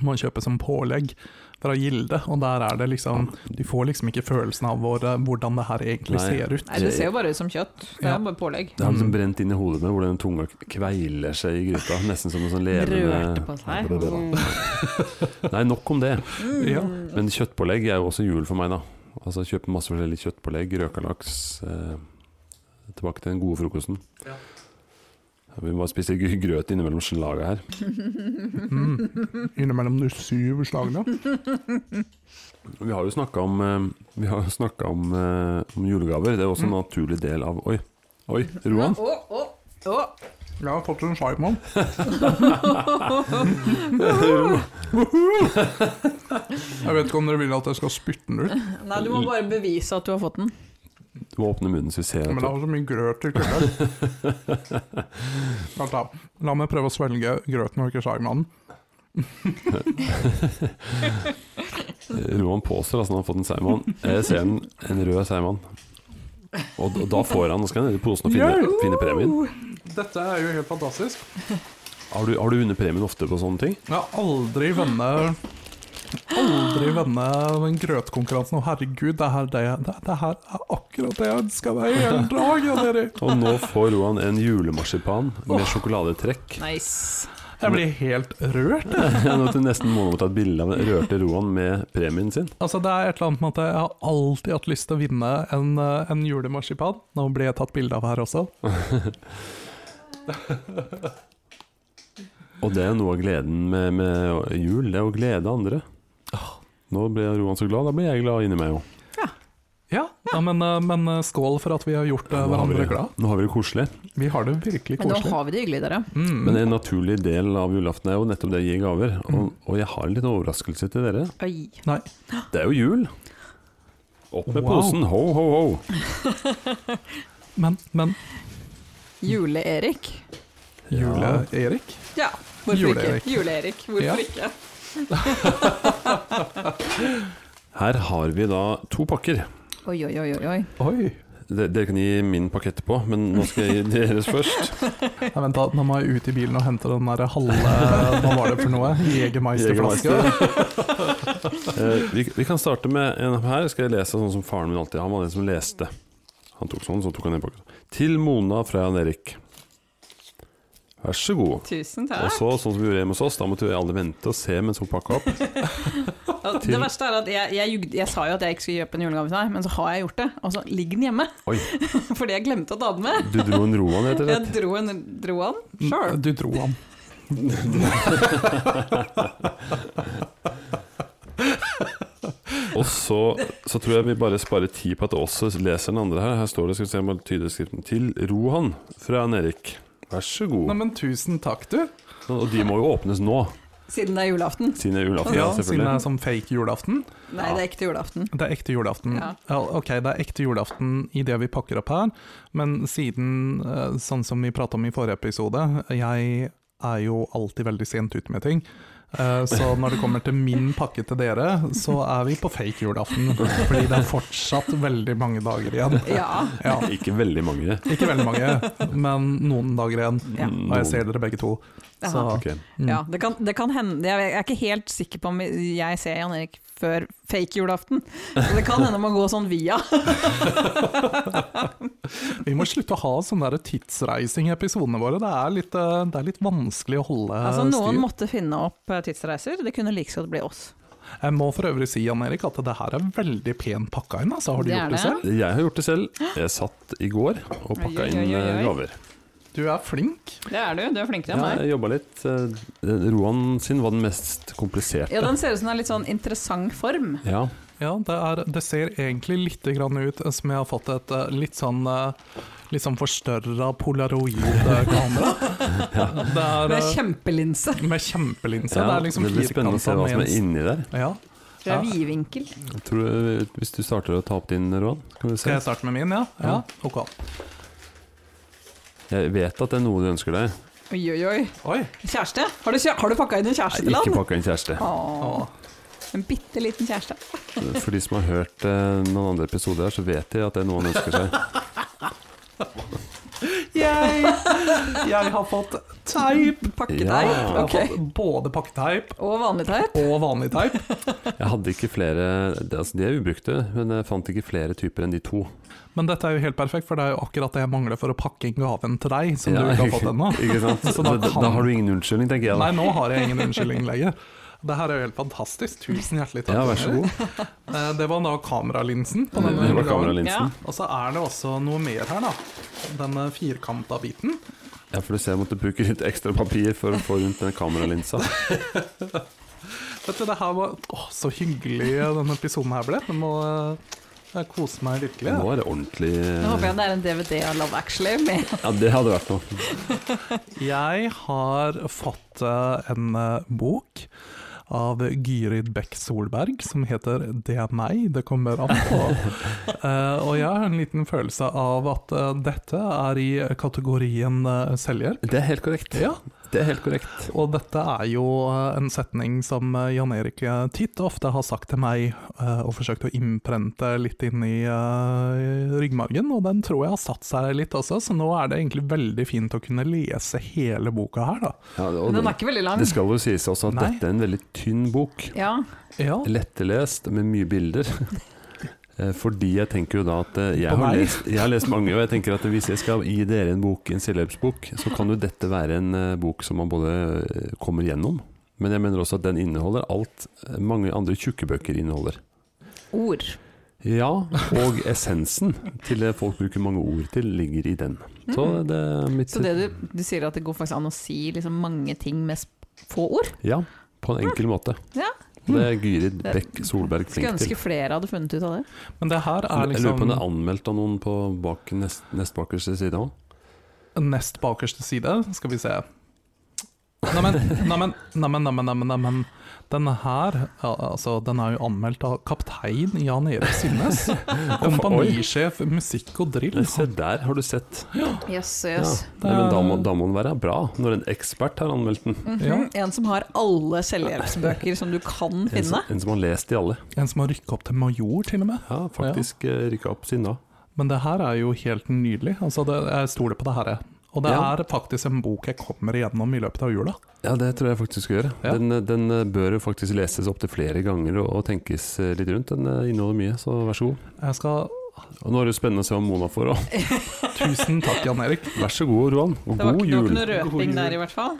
Speaker 2: man kjøper som pålegg fra Gilde, og der er det liksom Du får liksom ikke følelsen av hvor, eh, hvordan det her egentlig
Speaker 1: Nei.
Speaker 2: ser ut.
Speaker 3: Nei, det ser jo bare ut som kjøtt. Det
Speaker 2: Ja.
Speaker 3: er bare pålegg.
Speaker 1: Det er liksom brent inn i hodet med hvordan tunga kveiler seg i gryta. Nesten som en sånn levende
Speaker 3: Rørte på seg. Mm.
Speaker 1: Nei, nok om det.
Speaker 2: Ja.
Speaker 1: Men kjøttpålegg er jo også jul for meg, da. Altså Kjøpe masse forskjellig kjøttpålegg, røka laks eh, Tilbake til den gode frokosten. Vi må spise gr- grøt innimellom slaga her.
Speaker 2: Mm. Innimellom de syv slagene.
Speaker 1: Vi har jo snakka om, eh, vi har jo snakket om, eh, om julegaver. Det er også en naturlig del av Oi, oi, Roan.
Speaker 3: Å, å, å.
Speaker 2: Jeg har fått en Simon. Jeg vet ikke om dere vil at jeg skal spytte den ut,
Speaker 3: Nei, du må bare bevise at du har fått den.
Speaker 1: Du må åpne munnen så vi ser
Speaker 2: men
Speaker 1: at
Speaker 2: det
Speaker 1: du
Speaker 2: er så mye grøt i kvelden. Vent da. La meg prøve å svelge grøten og ikke Simanen.
Speaker 1: Roan påstår altså han har fått en seigmann. Jeg ser en, en rød seigmann. Og, og da får han, da skal han ned i posen og finne,
Speaker 2: Yeah.
Speaker 1: finne premien.
Speaker 2: Dette er jo helt fantastisk.
Speaker 1: Har du, har du vunnet premien ofte på sånne ting?
Speaker 2: Jeg har aldri vunnet Aldri vunnet den grøtkonkurransen. Å, herregud, det her, det, det, det her er akkurat det jeg ønska meg i hele dag. Ja, dere.
Speaker 1: Og nå får Roan en julemarsipan med sjokoladetrekk.
Speaker 3: Nice.
Speaker 2: Jeg blir helt rørt. jeg.
Speaker 1: Jeg måtte nesten må ta et bilde av den rørte Roan med premien sin.
Speaker 2: Altså, det er et eller annet med at jeg har alltid hatt lyst til å vinne en, eh, en julemarsipan. Nå blir jeg tatt bilde av her også.
Speaker 1: Og det er jo noe av gleden med, med jul, det er å glede andre. Nå ble Roan så glad, da ble jeg glad inni meg òg.
Speaker 2: Ja, ja men, eh, men eh, skål for at vi har gjort eh,
Speaker 1: Nå har vi
Speaker 2: hverandre
Speaker 1: det-
Speaker 2: glad.
Speaker 1: nå har vi det koselig.
Speaker 2: Vi har det virkelig
Speaker 3: Men nå
Speaker 2: koselig.
Speaker 3: har vi det hyggelig, dere.
Speaker 2: Mm.
Speaker 1: Men en naturlig del av julaften er jo nettopp det å gi gaver. Og, og jeg har en liten overraskelse til dere.
Speaker 3: Oi.
Speaker 2: Nei.
Speaker 1: Det er jo jul. Opp med
Speaker 2: Wow.
Speaker 1: posen, ho, ho, ho.
Speaker 2: Men, men
Speaker 3: Jule-Erik.
Speaker 2: Jule-Erik?
Speaker 3: Ja, hvorfor
Speaker 2: Jule-Erik.
Speaker 3: ikke? Jule-Erik, hvorfor
Speaker 2: Ja.
Speaker 3: ikke?
Speaker 1: Her har vi da to pakker.
Speaker 3: Oi, oi, oi, oi, oi.
Speaker 2: Oi.
Speaker 1: De- Dere kan gi min pakket etterpå, men nå skal jeg gi deres først.
Speaker 2: Nei, vent, da. Nå må jeg ut i bilen og hente den der halve Hva var det for noe? Jegermeisterflaske?
Speaker 1: Eh, vi, vi kan starte med en her. Skal jeg lese sånn som faren min alltid Han var den som leste. Han tok sånn, så tok han en pakke. Til Mona fra Jan Erik. Vær så god.
Speaker 3: Tusen
Speaker 1: Og
Speaker 3: takk.
Speaker 1: så, sånn som vi gjorde hjemme hos oss, da måtte vi alle vente og se mens hun pakka opp.
Speaker 3: Og Det verste er at jeg, jeg, jugde- jeg sa jo at jeg ikke skulle kjøpe en julegave til deg, men så har jeg gjort det. Og så ligger den hjemme,
Speaker 1: Oi,
Speaker 3: fordi jeg glemte å ta den med.
Speaker 1: du dro en Roman, rett og
Speaker 3: Jeg
Speaker 1: slett.
Speaker 3: dro den, dro den sjøl.
Speaker 2: Mm, Du dro han.
Speaker 1: Og så, så tror jeg vi bare sparer tid på at også leser den andre her. Her står det, skal vi se om jeg tyder skriften til Rohan fra Jan Erik. Vær så god.
Speaker 2: Nei, men tusen takk, du.
Speaker 1: Og de må jo åpnes nå,
Speaker 3: Siden det er julaften.
Speaker 1: siden det er julaften.
Speaker 2: Ja, siden det
Speaker 1: selvfølgelig.
Speaker 2: er sånn fake julaften.
Speaker 3: Nei, det er ikke til julaften.
Speaker 2: Det er ekte julaften. Ja.
Speaker 3: Ja.
Speaker 2: ok, det er ekte julaften i det vi pakker opp her, men siden, eh, sånn som vi prata om i forrige episode, jeg er jo alltid veldig sent ute med ting. Eh, Så når det kommer til min pakke til dere, så er vi på fake julaften. Fordi det er fortsatt veldig mange dager igjen.
Speaker 3: Ja.
Speaker 2: Ja,
Speaker 1: Ikke veldig mange.
Speaker 2: ikke veldig mange, men noen dager igjen.
Speaker 3: Ja.
Speaker 2: Og jeg ser dere begge to. Så
Speaker 1: Ok.
Speaker 3: Ja, det kan, det kan hende Jeg er ikke helt sikker på om jeg ser Jan Erik før fake julaften. Så det kan hende man går sånn via.
Speaker 2: Vi må slutte å ha sånn der tidsreising i episodene våre. Det er litt, eh, det er litt vanskelig å holde
Speaker 3: Altså, noen
Speaker 2: styr.
Speaker 3: måtte finne opp eh, tidsreiser. Det kunne like godt bli oss.
Speaker 2: Jeg må for øvrig si Jan Erik, at det her er veldig pen pakka inn. Altså. Har du
Speaker 3: Det er
Speaker 2: gjort det
Speaker 3: det.
Speaker 2: selv?
Speaker 1: Jeg har gjort det selv. Jeg satt i går og
Speaker 3: Oi,
Speaker 1: pakka
Speaker 3: oi,
Speaker 1: inn
Speaker 3: oi,
Speaker 1: eh,
Speaker 3: oi.
Speaker 1: gaver.
Speaker 2: Du er flink.
Speaker 3: Det er du. Du er flinkere
Speaker 1: Ja,
Speaker 3: enn meg.
Speaker 1: jeg jobba litt. eh, Roan sin var den mest kompliserte.
Speaker 3: Ja, den ser ut som den er litt sånn interessant form.
Speaker 1: Ja,
Speaker 2: Ja, det, er, det ser egentlig litt grann ut som jeg har fått et eh, litt sånn eh, Litt sånn forstørra polaroid-kamera. Det er
Speaker 3: Med
Speaker 2: eh,
Speaker 3: kjempelinse.
Speaker 2: med kjempelinse.
Speaker 1: ja,
Speaker 2: det er liksom
Speaker 1: det blir spennende å se
Speaker 2: firkantet
Speaker 1: hva som
Speaker 2: med
Speaker 1: er inni der.
Speaker 2: en- Ja.
Speaker 3: Fra vidvinkel.
Speaker 1: Jeg Tror, hvis du starter å ta opp din, Roan, kan vi se.
Speaker 2: Skal jeg starte med min, ja? Ja, ok.
Speaker 1: Jeg vet at det er noe du ønsker deg.
Speaker 3: Oi, oi, oi.
Speaker 2: Oi.
Speaker 3: Kjæreste? Har du, kjæ- har du pakka inn en kjæreste
Speaker 1: Nei,
Speaker 3: til
Speaker 1: Ikke
Speaker 3: han?
Speaker 1: pakka inn kjæreste.
Speaker 3: Åh, En bitte liten kjæreste.
Speaker 1: For de som har hørt eh, noen andre episoder her, så vet de at det er noe han ønsker seg.
Speaker 2: Yay! Jeg har fått teip.
Speaker 3: Pakketeip.
Speaker 1: Ja.
Speaker 2: Jeg har
Speaker 3: Ok.
Speaker 2: fått både pakketeip
Speaker 3: Og vanlig teip.
Speaker 2: og vanlig teip.
Speaker 1: Jeg hadde ikke flere det, altså, De er ubrukte, men jeg fant ikke flere typer enn de to.
Speaker 2: Men dette er jo helt perfekt, for det er jo akkurat det jeg mangler for å pakke inn gaven til deg, som
Speaker 1: Ja,
Speaker 2: du ikke har fått ennå.
Speaker 1: Ikke sant?
Speaker 2: Så
Speaker 1: Så
Speaker 2: da
Speaker 1: da,
Speaker 2: kan-
Speaker 1: da har du ingen unnskyldning, tenker jeg. Da.
Speaker 2: Nei, nå har jeg ingen unnskyldning lenger. Det her er jo helt fantastisk. Tusen hjertelig takk.
Speaker 1: Ja, vær så
Speaker 2: Erik.
Speaker 1: god.
Speaker 2: Eh, Det var da kameralinsen. På
Speaker 1: Det,
Speaker 2: denne
Speaker 1: det var
Speaker 2: gaven.
Speaker 1: kameralinsen.
Speaker 2: Og så er det også noe mer her, da. Denne firkanta biten.
Speaker 1: Ja, for du ser jeg måtte bruke litt ekstra papir for å få rundt den kameralinsa.
Speaker 2: Vet du, det her var Å, så hyggelig eh, denne episoden her ble. Jeg må eh, kose meg virkelig.
Speaker 1: Nå er det ordentlig
Speaker 3: Nå håper jeg det er en DVD av Love Actually med
Speaker 1: Ja, det hadde vært noe.
Speaker 2: Jeg har fått eh, en eh, bok av Gyrid Bekk Solberg som heter 'Det er meg', det kommer an på. Eh, og jeg har en liten følelse av at eh, dette er i kategorien eh, selvhjelp.
Speaker 1: Det er helt korrekt.
Speaker 2: Ja,
Speaker 1: Det er helt korrekt.
Speaker 2: og dette er jo eh, en setning som eh, Jan Erik eh, titt og ofte har sagt til meg, eh, og forsøkt å innprente litt inn i eh, ryggmargen, og den tror jeg har satt seg litt også, så nå er det egentlig veldig fint å kunne lese hele boka her, da.
Speaker 1: Ja, det, og
Speaker 3: Men den
Speaker 1: det,
Speaker 3: er ikke veldig lang.
Speaker 1: det skal jo sies også at
Speaker 2: Nei.
Speaker 1: dette er en veldig tynn bok.
Speaker 3: Ja.
Speaker 2: Ja,
Speaker 1: Lettelest med mye bilder. Eh, Fordi jeg tenker jo da at eh, jeg
Speaker 2: På
Speaker 1: har,
Speaker 2: meg?
Speaker 1: lest, jeg har lest mange, og jeg tenker at hvis jeg skal gi dere en bok, en selvhjelpsbok, så kan jo dette være en eh, bok som man både eh, kommer gjennom, men jeg mener også at den inneholder alt eh, mange andre tjukke bøker inneholder.
Speaker 3: Ord.
Speaker 1: Ja, og essensen til det folk bruker mange ord til, ligger i den. Så det er mitt
Speaker 3: Mm. Så det du, du sier at det går faktisk an å si liksom mange ting med sp- få ord?
Speaker 1: Ja, på en enkel måte.
Speaker 3: Ja. Mm.
Speaker 1: Og Det er Gyrid Bekk Solberg
Speaker 3: Skulle
Speaker 1: flink til.
Speaker 3: ønske flere hadde funnet ut av det.
Speaker 2: men det her
Speaker 1: Jeg lurer på
Speaker 2: er
Speaker 1: om
Speaker 2: liksom
Speaker 1: det er anmeldt av noen på bak nest, nest bakerste side òg.
Speaker 2: liksom nest bakerste side, skal vi se. Neimen, neimen, neimen, neimen, neimen, neimen. Denne her, ja, altså, den er jo anmeldt av kaptein Jan Erik Synnes. Kompanisjef musikk og drill.
Speaker 1: Se der, har du sett.
Speaker 3: Yes,
Speaker 1: Ja.
Speaker 3: yes.
Speaker 1: Nei, men da må, da må den være bra, når en ekspert har anmeldt den.
Speaker 2: Ja.
Speaker 3: Mhm. En som har alle selvhjelpsbøker som du kan
Speaker 1: En, som-
Speaker 3: finne.
Speaker 1: en som har lest de alle.
Speaker 2: En som har rykka opp til major, til og med.
Speaker 1: Ja, faktisk ja. rykka opp siden da.
Speaker 2: Men det her er jo helt nydelig. Altså, det, jeg stoler på det her. jeg. Og det
Speaker 1: Ja.
Speaker 2: er faktisk en bok jeg kommer igjennom i løpet av jula.
Speaker 1: Ja, det tror jeg faktisk skal gjøre.
Speaker 2: Ja.
Speaker 1: Den, eh, den eh, bør jo faktisk leses opptil flere ganger og, og tenkes eh, litt rundt. Den eh, inneholder mye, så vær så god.
Speaker 2: Jeg skal
Speaker 1: Og nå er det jo spennende å se hva Mona får òg.
Speaker 2: Tusen takk, Jan Erik.
Speaker 1: Vær så god, Roan. Og
Speaker 3: Det var,
Speaker 1: god
Speaker 3: ikke, det var
Speaker 1: jul.
Speaker 3: ikke noe
Speaker 2: God jul.
Speaker 3: røping der i hvert fall.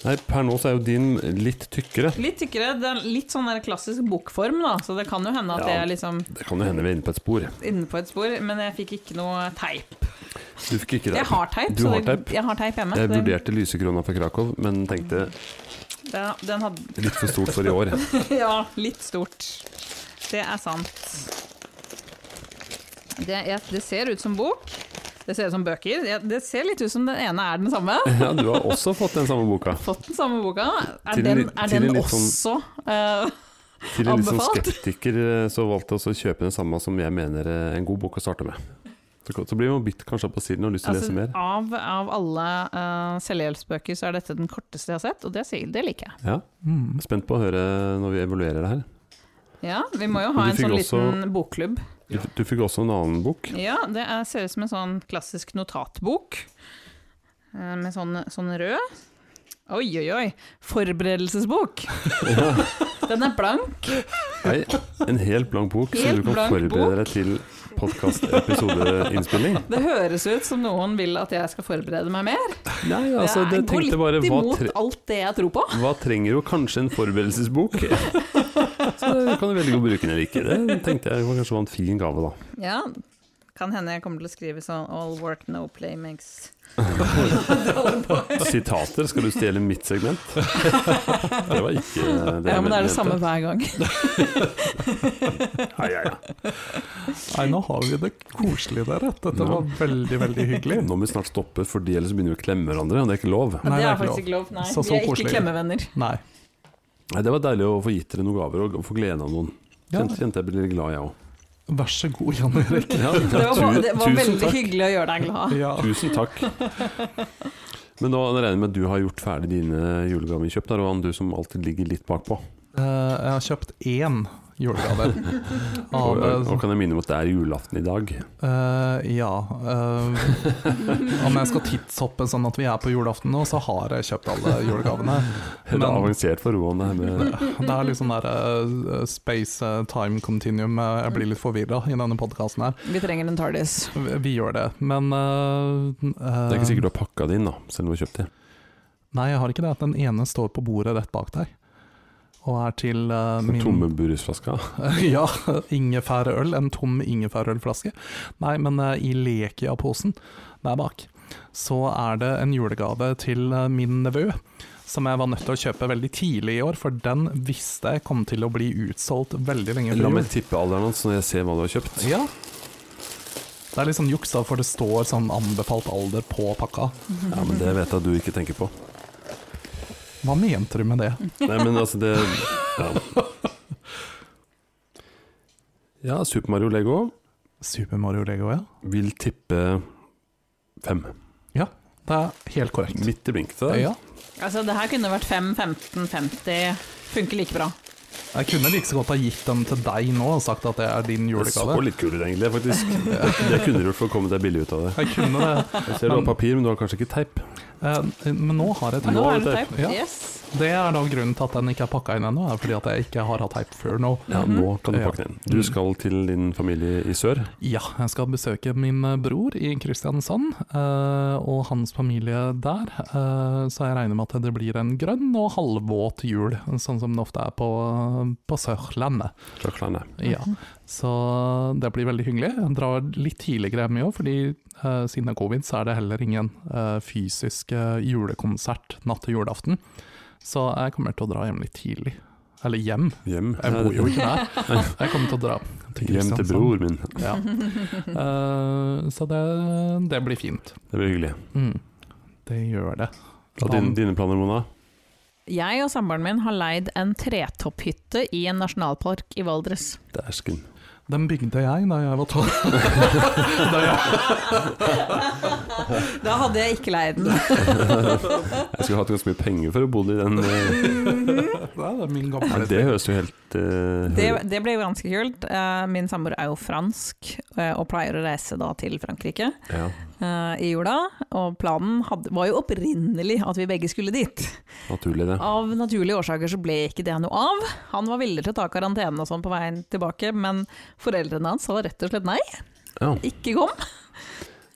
Speaker 1: Nei, per nå så er jo din litt tykkere.
Speaker 3: Litt tykkere. Det er litt sånn der klassisk bokform, da. Så det kan jo hende
Speaker 1: Ja.
Speaker 3: at jeg er liksom
Speaker 1: Det kan jo hende vi er inne på et spor.
Speaker 3: inne på et spor, men jeg fikk ikke noe teip.
Speaker 1: Du fikk ikke det.
Speaker 3: Jeg har teip,
Speaker 1: Du
Speaker 3: så
Speaker 1: har
Speaker 3: det-
Speaker 1: teip.
Speaker 3: jeg har teip hjemme.
Speaker 1: Jeg
Speaker 3: så det-
Speaker 1: vurderte lysekrona fra Krakow, men tenkte
Speaker 3: Den, den hadde
Speaker 1: litt for stort for i år.
Speaker 3: Ja, litt stort. Det er sant. Det, jeg, det ser ut som bok. Det ser ut som bøker. Jeg, det ser litt ut som den ene er den samme.
Speaker 1: Ja, du har også fått den samme boka.
Speaker 3: Fått den samme boka. Er
Speaker 1: Til en
Speaker 3: den,
Speaker 1: litt-
Speaker 3: er
Speaker 1: til en
Speaker 3: den
Speaker 1: litt sånn
Speaker 3: også eh,
Speaker 1: Til en litt sånn
Speaker 3: Anbefalt.
Speaker 1: skeptiker eh, så valgte jeg også å kjøpe den samme som jeg mener eh, en god bok å starte med. Så, så blir man bitt kanskje opp på siden og har lyst til å
Speaker 3: altså,
Speaker 1: lese mer.
Speaker 3: av, av alle eh, selvhjelpsbøker så er dette den korteste jeg har sett, og det, sier- det liker jeg.
Speaker 1: Ja, Spent på å høre når vi evaluerer det her.
Speaker 3: Ja, Vi må jo
Speaker 1: Men
Speaker 3: ha
Speaker 1: du
Speaker 3: en
Speaker 1: fikk
Speaker 3: sånn
Speaker 1: også-
Speaker 3: liten bokklubb.
Speaker 1: Du, du fikk også en annen bok.
Speaker 3: Ja, det er, ser ut som en sånn klassisk notatbok. eh, Med sånn, sånn rød. Oi, oi, oi. Forberedelsesbok. Den er blank.
Speaker 1: Nei, en helt blank bok, så
Speaker 3: Helt
Speaker 1: du kan
Speaker 3: blank
Speaker 1: forberede deg til podkastepisodeinnspilling.
Speaker 3: Det høres ut som noen vil at jeg skal forberede meg mer.
Speaker 1: Nei, altså, det
Speaker 3: jeg går
Speaker 1: tenkte
Speaker 3: litt
Speaker 1: bare hva,
Speaker 3: imot
Speaker 1: tre
Speaker 3: alt det jeg tror på.
Speaker 1: hva trenger jo kanskje en forberedelsesbok? Så det kan du velge å bruke den eller ikke. Det tenkte jeg var kanskje var en fin gave, da.
Speaker 3: Ja, kan hende jeg kommer til å skrive sånn All work, no play makes
Speaker 1: Sitater, skal du stjele mitt segment? Det var ikke det
Speaker 3: Ja, men det er
Speaker 1: mente.
Speaker 3: det samme hver gang.
Speaker 1: Ja, ja, ja.
Speaker 2: Nei, nå har vi det koselig der. at Dette
Speaker 1: Ja.
Speaker 2: var veldig, veldig hyggelig.
Speaker 1: Nå må vi snart stoppe, fordi ellers begynner vi å klemme hverandre, og det er ikke lov.
Speaker 2: Nei,
Speaker 3: det
Speaker 2: det er
Speaker 3: er faktisk ikke lov. Nei,
Speaker 2: Så- så
Speaker 3: vi er
Speaker 2: koselig.
Speaker 3: ikke klemmevenner.
Speaker 2: Nei.
Speaker 1: Nei, Det var deilig å få gitt dere noen gaver og få glede av noen.
Speaker 2: Ja,
Speaker 1: Kjente, kjente jeg ble litt glad, jeg òg.
Speaker 2: vær så god, Jan Erik.
Speaker 1: Ja,
Speaker 3: Det var,
Speaker 1: tu-
Speaker 3: det var
Speaker 1: tusen
Speaker 3: veldig
Speaker 1: takk.
Speaker 3: hyggelig å gjøre deg glad.
Speaker 2: Ja.
Speaker 1: Tusen takk. Men nå regner jeg med at du har gjort ferdig dine julegaveinnkjøp, da, Roan, du som alltid ligger litt bakpå.
Speaker 2: Eh, jeg har kjøpt én julegave.
Speaker 1: Og,
Speaker 2: Av, eh,
Speaker 1: og kan jeg minne om at det er julaften i dag.
Speaker 2: Eh, ja. eh, om jeg skal tidshoppe sånn at vi er på julaften nå, så har jeg kjøpt alle julegavene.
Speaker 1: Det er
Speaker 2: Men-
Speaker 1: avansert for Roan, det her med
Speaker 2: Det er litt sånn der eh, space eh, time continuum. eh, jeg blir litt forvirra i denne podkasten her.
Speaker 3: Vi trenger en Tardis.
Speaker 2: Vi, vi gjør det, men eh, eh,
Speaker 1: Det er ikke sikkert du har pakka det inn, da, selv om du har kjøpt det.
Speaker 2: Nei, jeg har ikke det. At den ene står på bordet rett bak deg. Og er til eh,
Speaker 1: Den
Speaker 2: min
Speaker 1: tomme brusflaska.
Speaker 2: Ja, ingefærøl. En tom ingefærølflaske. Nei, men eh, i Lekia-posen der bak, så er det en julegave til eh, min nevø. Som jeg var nødt til å kjøpe veldig tidlig i år, for den visste jeg kom til å bli utsolgt veldig lenge
Speaker 1: La
Speaker 2: før
Speaker 1: meg
Speaker 2: jul.
Speaker 1: tippe alderen hans når jeg ser hva du har kjøpt.
Speaker 2: Ja. Det er litt sånn juksa, for det står sånn anbefalt alder på pakka.
Speaker 1: Ja, men Det vet jeg at du ikke tenker på.
Speaker 2: Hva mente du med det?
Speaker 1: Nei, men altså, det Ja, ja Super Mario Lego
Speaker 2: Super Mario Lego, ja.
Speaker 1: vil tippe fem.
Speaker 2: Ja, det er helt korrekt.
Speaker 1: Midt i blinken der.
Speaker 2: Ja.
Speaker 3: Altså, det her kunne vært 5, 15, 50. Funker like bra.
Speaker 2: Jeg kunne like så godt ha gitt den til deg nå og sagt at det er din
Speaker 1: Det så
Speaker 2: julegave.
Speaker 1: litt kul ut egentlig, faktisk. Det, det kunne du gjort for å komme deg billig ut av det.
Speaker 2: Jeg kunne det.
Speaker 1: Jeg ser du har papir, men du har kanskje ikke teip.
Speaker 2: Eh, Men nå har jeg
Speaker 3: Nå
Speaker 2: teip.
Speaker 3: er det teip.
Speaker 2: Ja.
Speaker 3: Yes.
Speaker 2: Det er da grunnen til at den ikke er pakka inn ennå, er fordi at jeg ikke har hatt teip før nå.
Speaker 1: Ja, nå kan du
Speaker 2: Ja.
Speaker 1: pakke den inn. Du skal til din familie i sør.
Speaker 2: Ja, jeg skal besøke min eh, bror i Kristiansand eh, og hans familie der, eh, så jeg regner med at det blir en grønn og halvvåt jul, sånn som det ofte er på, på Sørlandet.
Speaker 1: Klakklane.
Speaker 2: Ja, så det blir veldig hyggelig. Jeg drar litt tidligere hjem i år, fordi eh, siden det er covid så er det heller ingen eh, fysisk eh, julekonsert natt til julaften. Så jeg kommer til å dra hjem litt tidlig. Eller hjem,
Speaker 1: Hjem.
Speaker 2: jeg bor jo ikke der. Jeg kommer til å dra til
Speaker 1: Hjem til
Speaker 2: Kristiansand.
Speaker 1: bror min.
Speaker 2: Ja. Eh, så det, det blir fint.
Speaker 1: Det blir hyggelig.
Speaker 2: Mm. Det gjør det.
Speaker 1: Og din, dine planer, Mona?
Speaker 3: Jeg og samboeren min har leid en tretopphytte i en nasjonalpark i Valdres.
Speaker 1: Dæsken.
Speaker 2: Den bygde jeg da jeg var tolv.
Speaker 3: Da hadde jeg ikke leid den.
Speaker 1: Jeg skulle hatt ganske mye penger for å bo i den. eh,
Speaker 2: Det er min
Speaker 1: Men
Speaker 2: gamle
Speaker 1: det høres jo helt eh,
Speaker 3: Det, det ble jo ganske kult. Eh, Min samboer er jo fransk eh, og pleier å reise da til Frankrike
Speaker 1: ja.
Speaker 3: eh, i jula. Og planen hadde, var jo opprinnelig at vi begge skulle dit.
Speaker 1: Naturlig, det.
Speaker 3: Av naturlige årsaker så ble ikke det noe av. Han var villig til å ta karantene og sånn på veien tilbake, men foreldrene hans sa rett og slett nei,
Speaker 1: Ja.
Speaker 3: ikke kom.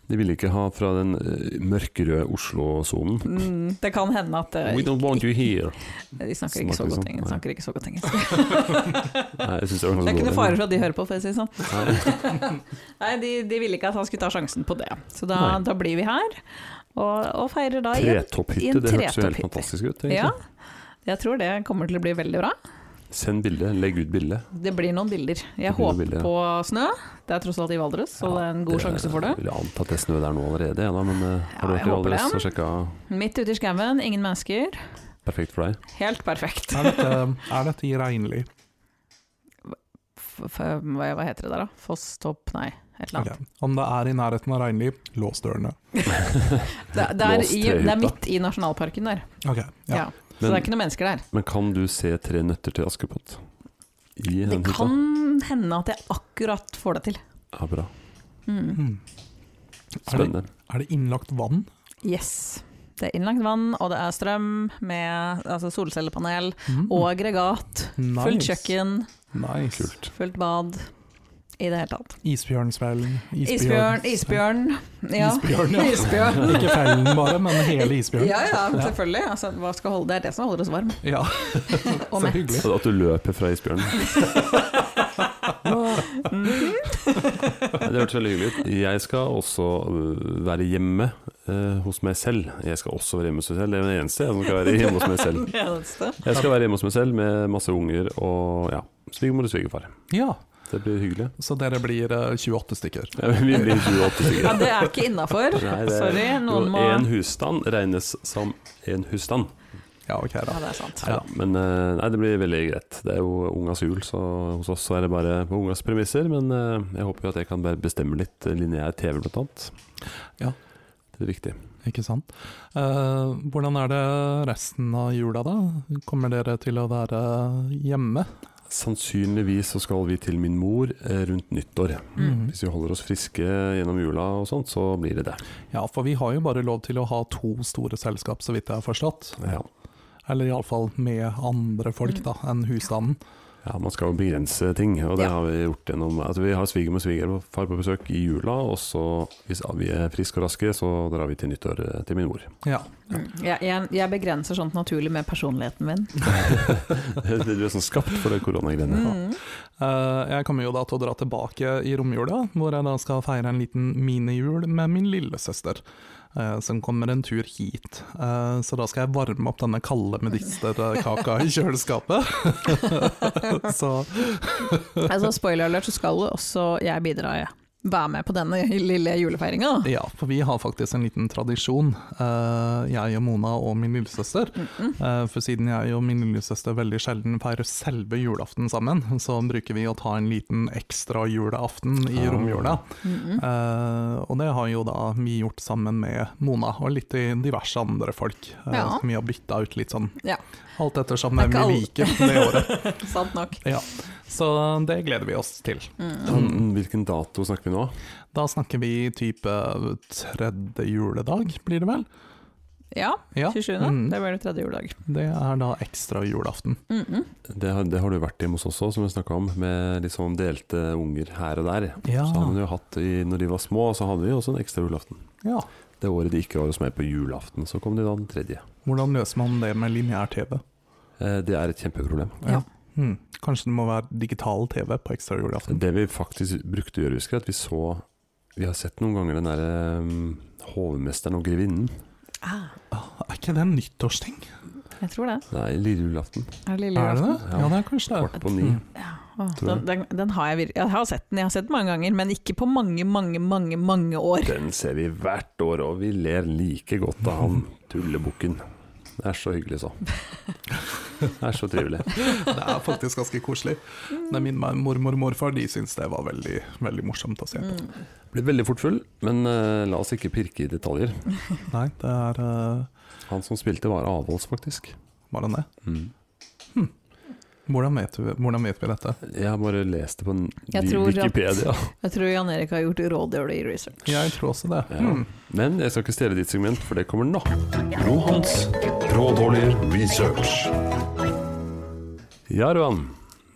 Speaker 1: De ville ikke ha fra den eh, mørkerøde Oslo-sonen.
Speaker 3: Mm, Det kan hende at eh,
Speaker 1: We don't want you here.
Speaker 3: De snakker ikke så
Speaker 1: Snakker
Speaker 3: godt
Speaker 1: sånn,
Speaker 3: engelsk.
Speaker 1: nei.
Speaker 3: Snakker ikke så godt engelsk.
Speaker 1: Nei, jeg synes det var
Speaker 3: Det er ikke
Speaker 1: ganske
Speaker 3: noe fare for at de hører på, for å si det sånn.
Speaker 1: dårlig. Nei.
Speaker 3: Nei, de, de ville ikke at han skulle ta sjansen på det. Så da,
Speaker 1: Nei.
Speaker 3: da blir vi her, og, og feirer da igjen. I
Speaker 1: Tretopphytte,
Speaker 3: en
Speaker 1: det hørtes jo helt
Speaker 3: tretopphytte.
Speaker 1: fantastisk ut. egentlig.
Speaker 3: Ja, jeg tror det kommer til å bli veldig bra.
Speaker 1: Send bilde, legg ut bilde.
Speaker 3: Det blir noen bilder.
Speaker 1: Det blir
Speaker 3: Jeg
Speaker 1: noen
Speaker 3: håper
Speaker 1: bilder, ja.
Speaker 3: på snø. Det er tross alt i Valdres, så det er en god sjanse for det.
Speaker 1: Jeg vil anta at det er snø der nå allerede, ja, da, men eh, har du
Speaker 3: Ja, jeg
Speaker 1: vært i
Speaker 3: håper det.
Speaker 1: Valdres og sjekka
Speaker 3: Midt ute i skauen, ingen mennesker.
Speaker 1: perfekt for deg?
Speaker 3: Helt perfekt.
Speaker 2: Er dette, er dette i Reinli?
Speaker 3: F f hva, hva heter det der, da? Fosstopp? Nei, et eller annet.
Speaker 2: Ok. Om det er i nærheten av Reinli, lås dørene.
Speaker 3: Det, det, er
Speaker 1: Lås
Speaker 3: i,
Speaker 1: trehytta.
Speaker 3: det er midt i nasjonalparken der,
Speaker 2: Ok,
Speaker 3: ja.
Speaker 2: ja.
Speaker 3: så det
Speaker 1: Men-
Speaker 3: er ikke noen mennesker der.
Speaker 1: Men kan du se tre nøtter til Askepott? I
Speaker 3: Det
Speaker 1: den hytta?
Speaker 3: kan hende at jeg akkurat får det til.
Speaker 1: Ja, bra.
Speaker 3: Mm.
Speaker 2: Mm. Er, det,
Speaker 1: Spennende.
Speaker 2: er det innlagt vann?
Speaker 3: Yes. Det er innlagt vann, og det er strøm med altså solcellepanel
Speaker 2: Mm.
Speaker 3: og aggregat.
Speaker 2: Nice.
Speaker 3: Fullt kjøkken,
Speaker 2: Nice.
Speaker 1: Kult.
Speaker 3: fullt bad. I det hele tatt.
Speaker 2: Isbjørnsfellen.
Speaker 3: Isbjørn, isbjørn. Ja.
Speaker 2: Isbjørn, ja.
Speaker 3: Isbjørn.
Speaker 2: Ikke fellen bare, men hele isbjørn.
Speaker 3: Ja ja, selvfølgelig. Altså, hva skal holde? Det er det som holder oss varm
Speaker 2: Ja,
Speaker 3: og
Speaker 2: så
Speaker 3: mett.
Speaker 2: hyggelig.
Speaker 1: Og At du løper fra isbjørnen. Nei, Det hørtes veldig hyggelig ut. Jeg skal også øh, være hjemme øh, hos meg selv. Jeg skal også være hjemme hos meg selv. Det er det eneste jeg som skal være hjemme hos meg selv.
Speaker 3: Det eneste.
Speaker 1: Jeg skal være hjemme hos meg selv med masse unger og ja, svigermor og svigerfar.
Speaker 2: Ja,
Speaker 1: Det blir hyggelig.
Speaker 2: så dere blir eh, 28 stykker.
Speaker 1: Ja, Vi blir 28 stykker.
Speaker 3: Ja, det er ikke innafor.
Speaker 1: Nei, det-
Speaker 3: Sorry, noen må
Speaker 1: En husstand regnes som en husstand.
Speaker 2: Ja, ok
Speaker 3: Ja,
Speaker 2: da.
Speaker 3: det er sant.
Speaker 1: Neida, Men eh, nei, det blir veldig greit. Det er jo ungas jul, så hos oss så er det bare på ungas premisser. Men eh, jeg håper jo at jeg kan bare bestemme litt eh, lineær TV, blant annet.
Speaker 2: Ja.
Speaker 1: Det er viktig.
Speaker 2: Ikke sant. Eh, hvordan er det resten av jula, da? Kommer dere til å være hjemme?
Speaker 1: Sannsynligvis så skal vi til min mor eh, rundt nyttår.
Speaker 3: Mm.
Speaker 1: Hvis vi holder oss friske gjennom jula og sånt, så blir det det.
Speaker 2: Ja, for vi har jo bare lov til å ha to store selskap, så vidt jeg har forstått.
Speaker 1: Ja.
Speaker 2: Eller iallfall med andre folk da,
Speaker 3: Mm.
Speaker 2: enn husstanden.
Speaker 1: Ja, Man skal jo begrense ting, og det
Speaker 3: Ja.
Speaker 1: har vi gjort gjennom altså, Vi har svigermor og svigerfar på besøk i jula, og så, hvis vi er friske og raske, så drar vi til nyttår eh, til min mor.
Speaker 2: Ja.
Speaker 3: Mm. Jeg, jeg, jeg begrenser sånt naturlig med personligheten min.
Speaker 1: du er sånn skapt for det koronagreiene.
Speaker 3: Mm.
Speaker 2: Eh, jeg kommer jo da til å dra tilbake i romjula, hvor jeg da skal feire en liten minijul med min lillesøster. eh, som kommer en tur hit. Eh, så da skal jeg varme opp denne kalde medisterkaka i kjøleskapet. så
Speaker 3: Altså, spoiler alert, så skal jo også jeg bidra. Jeg. Være med på denne lille julefeiringa.
Speaker 2: ja, for vi har faktisk en liten tradisjon, eh, jeg og Mona og min lillesøster. Eh, For siden jeg og min lillesøster veldig sjelden feirer selve julaften sammen, så bruker vi å ta en liten ekstra juleaften i
Speaker 1: Ah.
Speaker 2: romjula.
Speaker 3: Mm
Speaker 2: Eh, og det har jo da vi gjort sammen med Mona, og litt i diverse andre folk. eh,
Speaker 3: Ja.
Speaker 2: Som vi har bytta ut litt sånn,
Speaker 3: Ja.
Speaker 2: alt ettersom
Speaker 3: Det er
Speaker 2: hvem
Speaker 3: ikke alle-
Speaker 2: vi liker det året.
Speaker 3: Sant nok.
Speaker 2: Ja. Så det gleder vi oss til.
Speaker 1: Mm, Hvilken dato snakker vi nå?
Speaker 2: Da snakker vi type eh, tredje juledag, blir det vel?
Speaker 3: Ja,
Speaker 2: Ja.
Speaker 3: 27.
Speaker 2: Mm.
Speaker 3: Det blir det tredje juledag.
Speaker 2: Det er da ekstra julaften.
Speaker 3: Mm -mm.
Speaker 1: Det har, det har du vært hjemme hos oss også, som vi snakka om, med litt sånn delte unger her og der.
Speaker 2: Ja.
Speaker 1: Så hadde vi jo hatt i, Når de var små, så hadde de også en ekstra julaften.
Speaker 2: ja.
Speaker 1: Det året de ikke var hos meg på julaften, så kom de da den tredje.
Speaker 2: Hvordan løser man det med lineær-TV?
Speaker 1: Eh, Det er et kjempeproblem.
Speaker 3: Ja.
Speaker 2: Hmm. Kanskje det må være digital TV på ekstra julaften?
Speaker 1: Det vi faktisk brukte å gjøre, husker jeg, at vi så Vi har sett noen ganger den derre um, Hovmesteren og grevinnen.
Speaker 3: Ah,
Speaker 2: Er ikke det en nyttårsting?
Speaker 3: jeg tror det.
Speaker 1: Nei, lille julaften.
Speaker 3: Er det lille
Speaker 2: Er det det?
Speaker 3: julaften?
Speaker 1: Ja.
Speaker 2: Ja, det er kanskje det.
Speaker 1: Kvart på ni.
Speaker 3: Ja. Å,
Speaker 1: Tror
Speaker 3: Den, den, den har jeg, vir- jeg har sett den, jeg har sett den mange ganger, men ikke på mange, mange, mange mange år.
Speaker 1: Den ser vi hvert år, og vi ler like godt av han tullebukken. Det er så hyggelig, så. Det er så trivelig.
Speaker 2: Det er faktisk ganske koselig. Det er min mormor og morfar de syns det var veldig, veldig morsomt å se på.
Speaker 1: Blir veldig fort full, men eh, la oss ikke pirke i detaljer.
Speaker 2: Nei, det er eh,
Speaker 1: Han som spilte, var avholds, faktisk.
Speaker 2: Var han det? Hvordan vet, vi, hvordan vet vi dette?
Speaker 1: Jeg har bare lest det på en
Speaker 3: Jeg tror at-
Speaker 1: Wikipedia.
Speaker 3: Jeg tror Jan Erik har gjort rådårlig research.
Speaker 2: Jeg tror også det.
Speaker 1: Ja.
Speaker 2: Hmm.
Speaker 1: Men jeg skal ikke stjele ditt segment, for det kommer nå.
Speaker 4: Johans rådårlig research.
Speaker 1: Ja, Roan.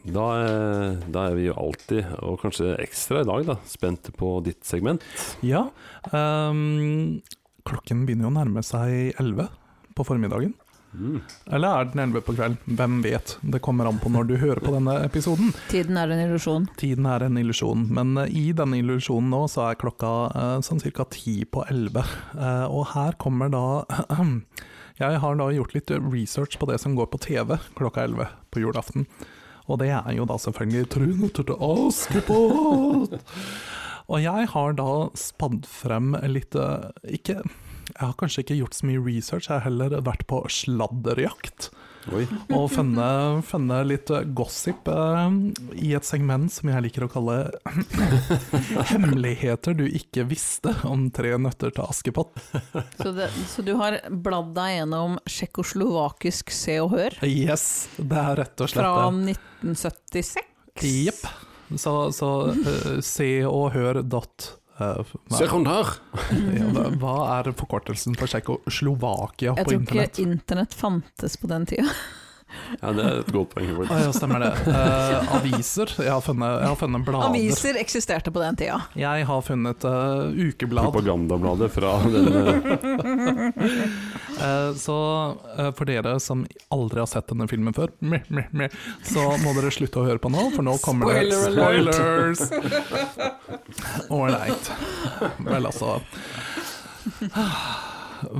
Speaker 1: Da, eh, da er vi jo alltid, og kanskje ekstra i dag, da, spent på ditt segment.
Speaker 2: ja. ehm, klokken begynner jo å nærme seg 11 på formiddagen.
Speaker 1: Mm.
Speaker 2: Eller er den 11 på kvelden? Hvem vet? Det kommer an på når du hører på denne episoden.
Speaker 3: Tiden er en illusjon.
Speaker 2: Tiden er en illusjon, men eh, i denne illusjonen nå så er klokka eh, sånn ca. ti på elleve. Eh, og her kommer da Jeg har da gjort litt research på det som går på TV klokka elleve på julaften. Og det er jo da selvfølgelig Trond Turte Askepott! Og jeg har da spadd frem litt eh, Ikke Jeg har kanskje ikke gjort så mye research, jeg har heller vært på sladderjakt
Speaker 1: Oi.
Speaker 2: og funne, funne litt eh, gossip eh, i et segment som jeg liker å kalle Hemmeligheter du ikke visste om tre nøtter til Askepott.
Speaker 3: Så, det, så du har bladd deg gjennom tsjekkoslovakisk Se og Hør
Speaker 2: Yes, det er rett og slett
Speaker 3: fra
Speaker 2: det.
Speaker 3: 1976?
Speaker 2: Jepp. Så, så eh, se og hør dot Eh, hva,
Speaker 1: Se rundt her!
Speaker 2: ja, hva er forkortelsen for Tsjekkoslovakia
Speaker 3: Jeg
Speaker 2: på
Speaker 3: tror ikke
Speaker 2: internett?
Speaker 3: internett fantes på den tida.
Speaker 1: Ja, det er et godt poeng.
Speaker 2: Å, ja, stemmer det. Eh, aviser. Jeg har funnet, jeg har funnet blader.
Speaker 3: Aviser eksisterte på den tida.
Speaker 2: Jeg har funnet eh, ukeblad.
Speaker 1: Propagandabladet fra den eh,
Speaker 2: Eh, så eh, for dere som aldri har sett denne filmen før, meh, meh, meh, så må dere slutte å høre på nå, for nå kommer det
Speaker 1: Spoiler
Speaker 2: spoilers! Ålreit. Vel, altså.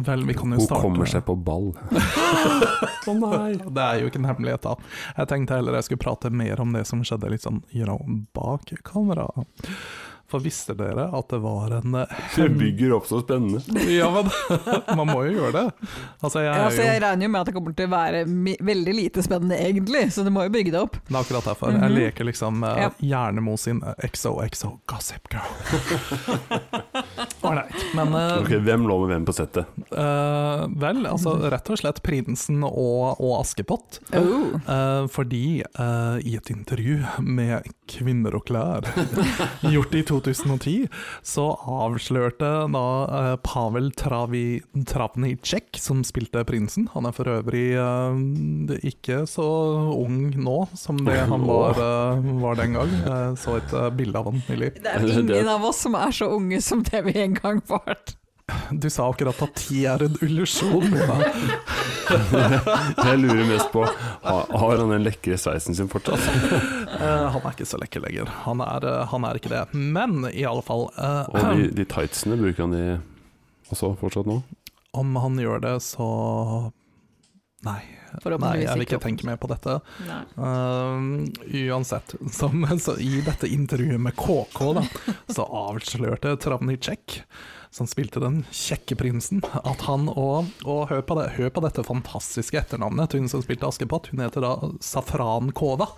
Speaker 2: Vel, vi kan jo
Speaker 1: Hun
Speaker 2: starte
Speaker 1: kommer seg på ball. Å
Speaker 3: Sånn
Speaker 1: nei!
Speaker 2: Det er jo ikke en hemmelighet, da. Jeg tenkte heller jeg skulle prate mer om det som skjedde litt sånn you know, bak kamera. For visste dere at det var en eh,
Speaker 1: Det bygger opp så spennende.
Speaker 2: Ja, men man må jo gjøre det. Altså, jeg
Speaker 3: Ja,
Speaker 2: er
Speaker 3: så jeg
Speaker 2: jo
Speaker 3: regner jo med at det kommer til å være mi- veldig lite spennende egentlig, så du må jo bygge det opp.
Speaker 2: Det er akkurat derfor. Jeg leker liksom eh,
Speaker 3: Ja.
Speaker 2: Hjernemo sin eh, XOXO Gossip Girl. Ålreit. Men eh,
Speaker 1: Ok, Hvem lå med hvem på settet?
Speaker 2: eh, vel, altså rett og slett Prinsen og, og Askepott.
Speaker 3: Oh.
Speaker 2: Eh, fordi eh, i et intervju med Kvinner og klær, gjort i 2010, så avslørte da eh, Pavel Travi, Travnicek, som spilte prinsen Han er for øvrig eh, ikke så ung nå som det han var, eh, var den gang. Jeg så et eh, bilde av han nylig.
Speaker 3: Det er ingen av oss som er så unge som det vi en gang var.
Speaker 2: Du sa akkurat at tid er en illusjon. Mina.
Speaker 1: Jeg lurer mest på Har har han den lekre sveisen sin fortsatt?
Speaker 2: Eh, han er ikke så lekker lenger. Han er, eh, han er ikke det. Men i alle fall eh,
Speaker 1: Og de, de tightsene bruker han i også fortsatt nå?
Speaker 2: Om han gjør det, så Nei, nei jeg vil ikke tenke mer på dette.
Speaker 3: Nei.
Speaker 2: Ehm, uansett, som, så i dette intervjuet med KK, da, så avslørte Travnicek, som spilte den kjekke prinsen, at han og, og hør, på det, hør på dette fantastiske etternavnet til hun som spilte Askepott, hun heter da Safrankova.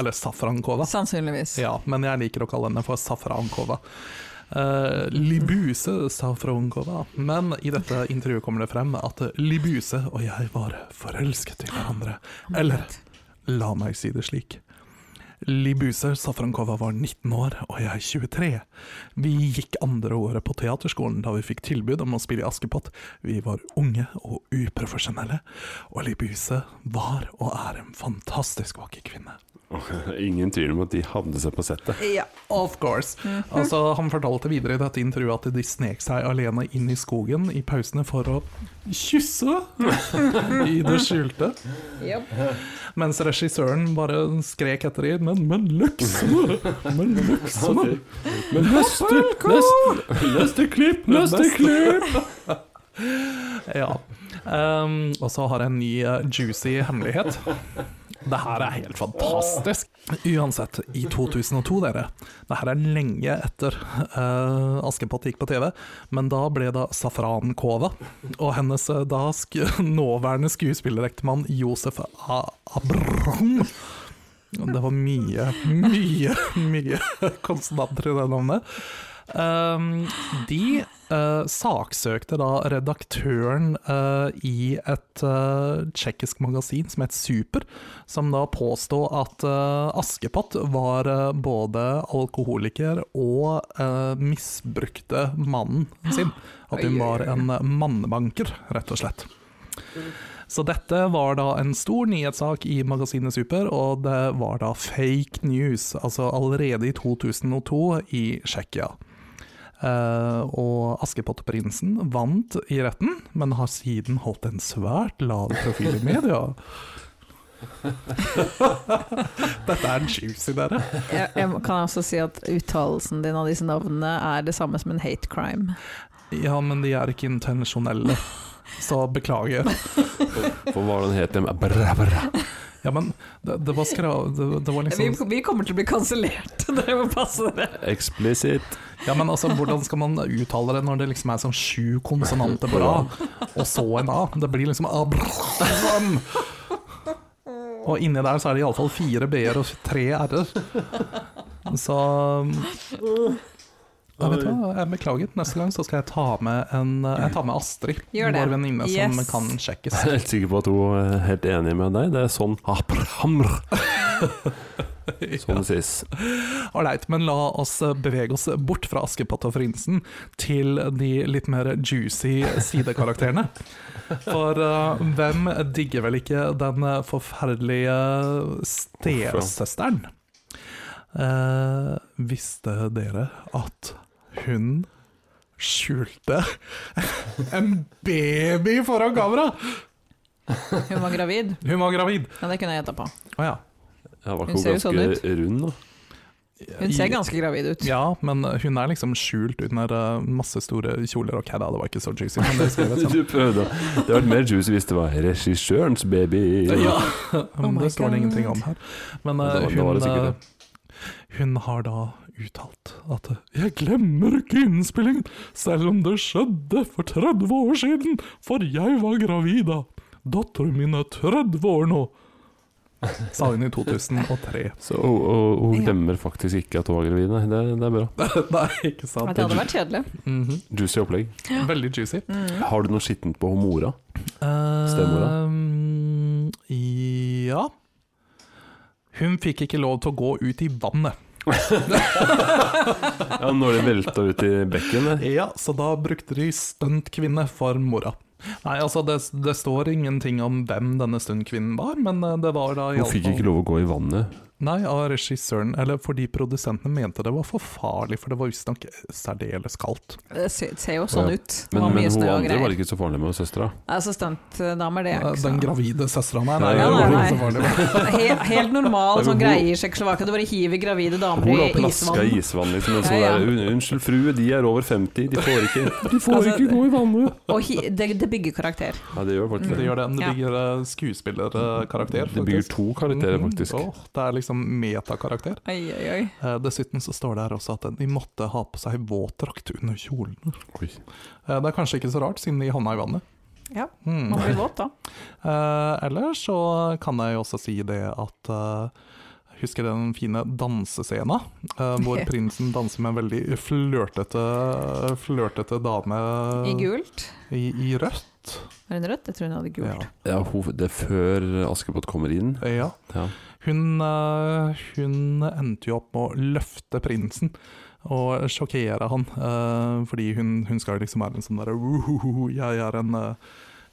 Speaker 2: Eller Safrankova.
Speaker 3: Sannsynligvis.
Speaker 2: Ja, men jeg liker å kalle henne for Safrankova. Eh, Libuse Safrankova. Men i dette intervjuet kommer det frem at Libuse og jeg var forelsket i hverandre. Eller la meg si det slik. Libuse Safrankova var 19 år, og jeg 23. Vi gikk andre året på teaterskolen da vi fikk tilbud om å spille i Askepott. Vi var unge og uprofesjonelle, og Libuse var og er en fantastisk vakker kvinne.
Speaker 1: Ingen tvil om at de havnet seg på settet.
Speaker 3: Ja.
Speaker 2: Of course. Altså, han fortalte videre i dette intervjuet at de snek seg alene inn i skogen i pausene for å kysse i det skjulte. Mens regissøren bare skrek etter dem men, men løksene! Men løksene!
Speaker 1: Men neste, neste, neste klipp, neste klipp!
Speaker 2: Ja. Ehm, og så har jeg en ny eh, juicy hemmelighet. Det her er helt fantastisk. Uansett, i 2002, dere. Det her er lenge etter eh, Askepott gikk på TV, men da ble det Safrankova og hennes eh, da sk nåværende skuespillerektemann Josef A Abram. Det var mye, mye, mye konsonanter i det navnet. Ehm, de eh, saksøkte da redaktøren eh, i et eh, tsjekkisk magasin som het Super, som da påstod at eh, Askepott var eh, både alkoholiker og eh, misbrukte mannen sin. At hun var en eh, mannebanker, rett og slett. Så dette var da en stor nyhetssak i magasinet Super, og det var da fake news, altså allerede i 2002 i Tsjekkia. Eh, og Askepottprinsen vant i retten, men har siden holdt en svært lav profil i media. Dette er en juicy, dere.
Speaker 3: Jeg, jeg kan også si at uttalelsen din av disse navnene er det samme som en hate crime.
Speaker 2: Ja, men de er ikke intensjonelle, så beklager.
Speaker 1: For hva var den het den? Bra, bra.
Speaker 2: Ja, men det, det var skra... Det, det var
Speaker 3: Vi,
Speaker 2: liksom
Speaker 3: vi kommer til å bli kansellert, dere må passe dere.
Speaker 1: Explicit.
Speaker 2: Ja, men altså, hvordan skal man uttale det når det liksom er sånn sju konsonanter på rad, og så en A? Det blir liksom Abraham. Og inni der så er det iallfall fire B-er og tre R-er. Så jeg vet du hva, jeg beklager. Neste gang så skal jeg ta med, en, jeg tar med Astrid,
Speaker 3: Gjør det.
Speaker 2: vår venninne som
Speaker 3: Yes.
Speaker 2: kan sjekkes.
Speaker 1: Jeg er helt sikker på at hun er helt enig med deg. Det er sånn Abrahamr. som det sies.
Speaker 2: Ålreit, men la oss eh, bevege oss bort fra Askepott og Frinsen til de litt mer juicy sidekarakterene. For eh, hvem digger vel ikke den eh, forferdelige stesøsteren? Eh, visste dere at hun skjulte en baby foran kamera?
Speaker 3: Hun var gravid.
Speaker 2: Hun var gravid.
Speaker 3: Ja, det kunne jeg gjetta på.
Speaker 2: Å ja.
Speaker 1: Jeg var
Speaker 3: Hun
Speaker 1: ikke
Speaker 3: ser jo
Speaker 1: ganske
Speaker 3: sånn
Speaker 1: rund, da.
Speaker 3: Hun ser ganske gravid ut.
Speaker 2: Ja, men hun er liksom skjult under eh, masse store kjoler. Ok, da, det var ikke så juicy. Men det skal jeg rett
Speaker 1: Du prøvde. Det hadde vært mer juicy hvis det var regissørens baby.
Speaker 2: si. ja.
Speaker 3: Oh my
Speaker 2: det står det ingenting om her. Men
Speaker 1: Det var-
Speaker 2: eh,
Speaker 1: det var
Speaker 2: hun,
Speaker 1: det sikkert,
Speaker 2: eh, hun har da uttalt at eh, 'jeg glemmer ikke innspillingen, selv om det skjedde for 30 år siden, for jeg var gravid da. Datteren min er 30 år nå', sa hun i 2003.
Speaker 1: Så hun, hun- hun
Speaker 3: Ja.
Speaker 1: glemmer faktisk ikke at hun var gravid. Nei, det, det er bra.
Speaker 2: Nei, ikke sant?
Speaker 3: Nei, Det hadde vært kjedelig. Mm.
Speaker 2: Mhm.
Speaker 1: Juicy opplegg.
Speaker 2: Veldig juicy.
Speaker 1: Har du noe skittent på homora? Stemora?
Speaker 2: Stemmer det? Ehm, Ja. Hun fikk ikke lov til å gå ut i vannet.
Speaker 1: Ja, når det velta ut i bekken der.
Speaker 2: Ja, så da brukte de stuntkvinne for mora. Nei, altså det, det står ingenting om hvem denne stuntkvinnen var, men eh, det var da i
Speaker 1: Hun
Speaker 2: alle
Speaker 1: fikk
Speaker 2: fall-
Speaker 1: ikke lov å gå i vannet.
Speaker 2: Nei, av regissøren, eller fordi produsentene mente det var for farlig, for det var visstnok eh, særdeles kaldt.
Speaker 3: Det ser ser jo sånn
Speaker 1: Ja.
Speaker 3: ut. Det
Speaker 1: Men,
Speaker 3: var
Speaker 1: men
Speaker 3: mye
Speaker 1: hun
Speaker 3: snø og
Speaker 1: andre var
Speaker 3: greier.
Speaker 1: ikke så farlig med søstera.
Speaker 3: Altså stuntdamer, det er ikke
Speaker 2: Eh, Den
Speaker 3: så
Speaker 2: gravide søstera, nei,
Speaker 1: Nei,
Speaker 2: nei, det
Speaker 1: nei,
Speaker 2: var
Speaker 3: nei.
Speaker 2: ikke så farlig.
Speaker 3: Helt, helt normal
Speaker 1: Nei, men
Speaker 3: sånn
Speaker 1: hun-
Speaker 3: greie i Tsjekkoslovakia. Du bare hiver gravide damer
Speaker 1: Hun
Speaker 3: i
Speaker 1: har plaska i
Speaker 3: isvann.
Speaker 1: isvann, liksom. En
Speaker 3: Ja,
Speaker 1: sånn
Speaker 3: ja.
Speaker 1: der, "Un- Unnskyld, frue, de er over 50, de får ikke De
Speaker 3: Altså, ikke
Speaker 1: gå i vannet!
Speaker 3: Og hi, det, det bygger karakter.
Speaker 1: Ja, det gjør faktisk det.
Speaker 2: Det gjør det. Det
Speaker 3: Ja.
Speaker 2: bygger eh, skuespillerkarakter.
Speaker 1: Det bygger
Speaker 2: faktisk.
Speaker 1: to karakterer,
Speaker 2: Mhm.
Speaker 1: faktisk.
Speaker 2: Åh, det er liksom metakarakter.
Speaker 3: Oi, oi, oi.
Speaker 2: Eh, Dessuten så står det her også at de måtte ha på seg våtdrakt under kjolene.
Speaker 3: Mm.
Speaker 1: Oi.
Speaker 2: Eh, Det er kanskje ikke så rart, siden de havna i vannet.
Speaker 3: Ja,
Speaker 2: Hmm.
Speaker 3: man blir våt da.
Speaker 2: Eh, Ellers så kan jeg jo også si det at eh, Husker den fine dansescena eh, hvor prinsen danser med en veldig flørtete, flørtete dame
Speaker 3: I
Speaker 1: Um,
Speaker 3: gult.
Speaker 2: i, i rødt?
Speaker 3: Var hun rødt? Jeg tror hun hadde
Speaker 2: Ja.
Speaker 3: gult.
Speaker 1: Ja, hun, det er før Askepott kommer inn.
Speaker 2: ja.
Speaker 1: Ja.
Speaker 2: Hun, eh, hun endte jo opp med å løfte prinsen og sjokkere han, eh, fordi hun, hun skal jo liksom være en sånn derre «Woohoo, jeg, er en, eh,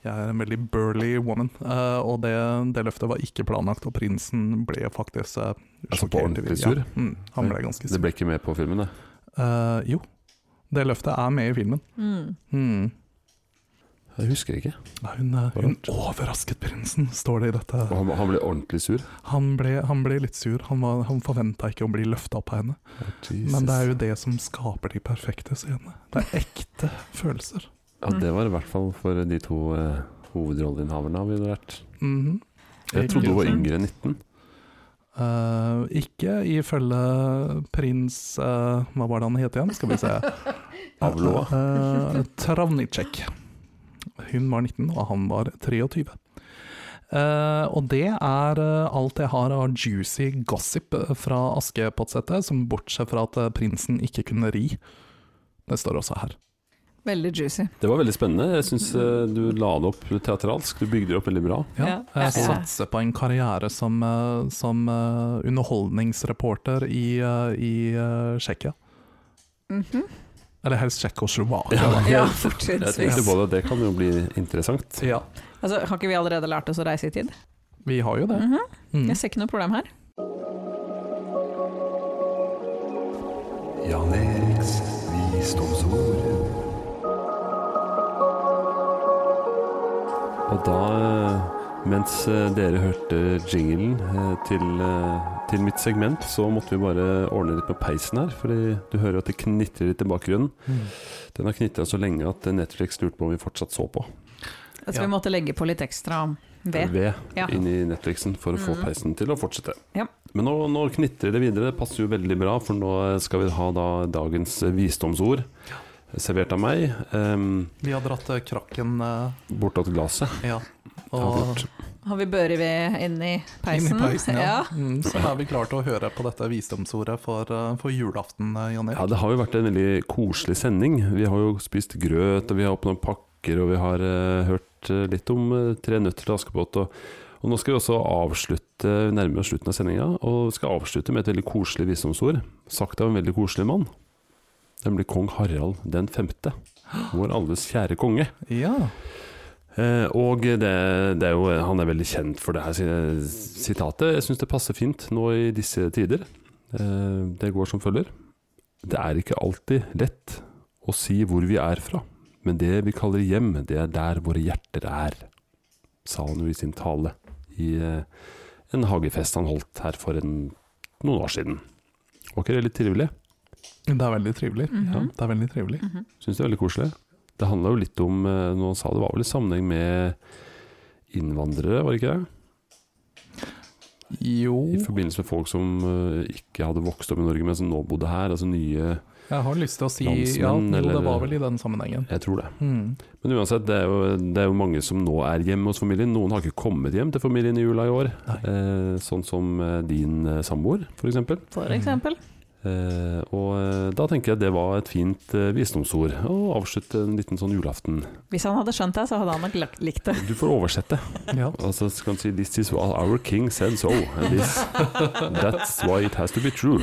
Speaker 2: jeg er en veldig burly woman. Eh, og det, det løftet var ikke planlagt, og prinsen ble faktisk uh,
Speaker 1: Altså, på
Speaker 2: sjokkert.
Speaker 1: ordentlig
Speaker 2: Ja,
Speaker 1: sur?
Speaker 2: mm, han ble ganske
Speaker 1: Det
Speaker 2: sur.
Speaker 1: ble ikke med på filmen, det.
Speaker 2: Eh, jo, det løftet er med i filmen.
Speaker 3: Mm.
Speaker 2: Mm.
Speaker 1: Jeg husker ikke.
Speaker 2: Nei, Hun, eh, hun overrasket prinsen, står det i dette.
Speaker 1: Og han, han ble ordentlig sur.
Speaker 2: Han ble, han ble litt sur, han, var- han forventa ikke å bli løfta opp av henne. Men det er jo det som skaper de perfekte scenene. Det er ekte følelser.
Speaker 1: Ja, det var i hvert fall for de to eh, hovedrolleinnehaverne, har vi lært.
Speaker 2: Mhm.
Speaker 1: Jeg trodde hun var yngre enn 19.
Speaker 2: Eh, ikke ifølge prins eh, Hva var det han het igjen? Skal vi se.
Speaker 1: Avloa.
Speaker 2: Eh, Travnicek. Hun var 19, og han var 23. Eh, og det er eh, alt jeg har av juicy gossip eh, fra Askepott-settet, som bortsett fra at eh, prinsen ikke kunne ri. Det står også her.
Speaker 3: Veldig juicy.
Speaker 1: Det var veldig spennende. Jeg syns du la det opp teatralsk. Du bygde det opp veldig bra.
Speaker 2: Ja,
Speaker 3: Ja.
Speaker 2: jeg
Speaker 3: Ja.
Speaker 2: satser på en karriere som, eh, som eh, underholdningsreporter i, eh, i eh, Tsjekkia.
Speaker 3: Mhm.
Speaker 2: Eller helst Tsjekkoslovakia. da.
Speaker 3: Ja,
Speaker 1: Jeg
Speaker 3: fortrinnsvis.
Speaker 1: tenkte på det, det kan jo bli interessant.
Speaker 2: Ja,
Speaker 3: Altså, har ikke vi allerede lært oss å reise i tid?
Speaker 2: vi har jo det.
Speaker 3: Mhm.
Speaker 2: Mm.
Speaker 3: Jeg ser ikke noe problem her.
Speaker 4: Jan Eriks visdomsord.
Speaker 1: Og da, eh, mens eh, dere hørte jinglen eh, til, eh, til mitt segment, så måtte vi bare ordne litt med peisen her. Fordi du hører at det knitrer litt i bakgrunnen.
Speaker 2: Mm.
Speaker 1: Den har knitra så lenge at Netflix lurte på om vi fortsatt så på.
Speaker 3: Altså,
Speaker 2: Ja.
Speaker 3: Vi måtte legge på litt ekstra ved.
Speaker 1: ved
Speaker 3: Ja. Mm.
Speaker 1: inn i Netflixen for å få peisen til å fortsette.
Speaker 3: Ja.
Speaker 1: Men nå, nå knitrer det videre, det passer jo veldig bra, for nå eh, skal vi ha da dagens visdomsord. Servert av meg, um,
Speaker 2: Vi har dratt eh, krakken eh,
Speaker 1: bortåt glasset.
Speaker 2: ja, og
Speaker 1: Avgjort.
Speaker 3: Har vi børreved inni
Speaker 2: inn
Speaker 3: peisen?
Speaker 2: i peisen. Ja.
Speaker 3: Ja.
Speaker 2: Mm, så er vi klare til å høre på dette visdomsordet for, eh, for julaften, eh, Jan
Speaker 1: Ja,
Speaker 2: Erik.
Speaker 1: det har jo vært en veldig koselig sending. Vi har jo spist grøt, og vi har åpna pakker, og vi har eh, hørt eh, litt om eh, Tre nøtter til Askepott. Og, Og nå skal vi også avslutte nærme oss slutten av sendinga, og vi skal avslutte med et veldig koselig visdomsord, sagt av en veldig koselig mann. Nemlig kong Harald den femte, vår alles kjære konge.
Speaker 2: Ja.
Speaker 1: Eh, og det, det er jo, han er veldig kjent for det her si- sitatet. Jeg syns det passer fint nå i disse tider. Eh, det går som følger. Det er ikke alltid lett å si hvor vi er fra, men det vi kaller hjem, det er der våre hjerter er, sa han jo i sin tale i eh, en hagefest han holdt her for en, noen år siden. Var ikke det litt trivelig?
Speaker 2: Det er veldig trivelig.
Speaker 3: Mhm.
Speaker 2: Ja, det er veldig trivelig.
Speaker 1: Syns det er veldig koselig. Det handla jo litt om eh, Noen sa det var vel i sammenheng med innvandrere, var det ikke det?
Speaker 2: Jo,
Speaker 1: I forbindelse med folk som eh, ikke hadde vokst opp i Norge, men som nå bodde her. Altså nye
Speaker 2: jeg har lyst til å si ja,
Speaker 1: Landsmenn,
Speaker 2: jo, det
Speaker 1: eller-
Speaker 2: var vel i den sammenhengen.
Speaker 1: Jeg tror det.
Speaker 2: Mm.
Speaker 1: Men uansett, det er, jo, det er jo mange som nå er hjemme hos familien. Noen har ikke kommet hjem til familien i jula i år.
Speaker 2: Nei.
Speaker 1: Eh, sånn som eh, din eh, samboer, f.eks.
Speaker 3: For
Speaker 1: Mm.
Speaker 3: eksempel.
Speaker 1: Eh, og eh, da tenker jeg det var et fint eh, visdomsord å avslutte en liten sånn julaften.
Speaker 3: Hvis han hadde skjønt det, så hadde han nok lagt- likt det.
Speaker 1: Du får oversette.
Speaker 2: Ja.
Speaker 1: Altså, så kan du si This is what our king said so and this, That's why it has to be true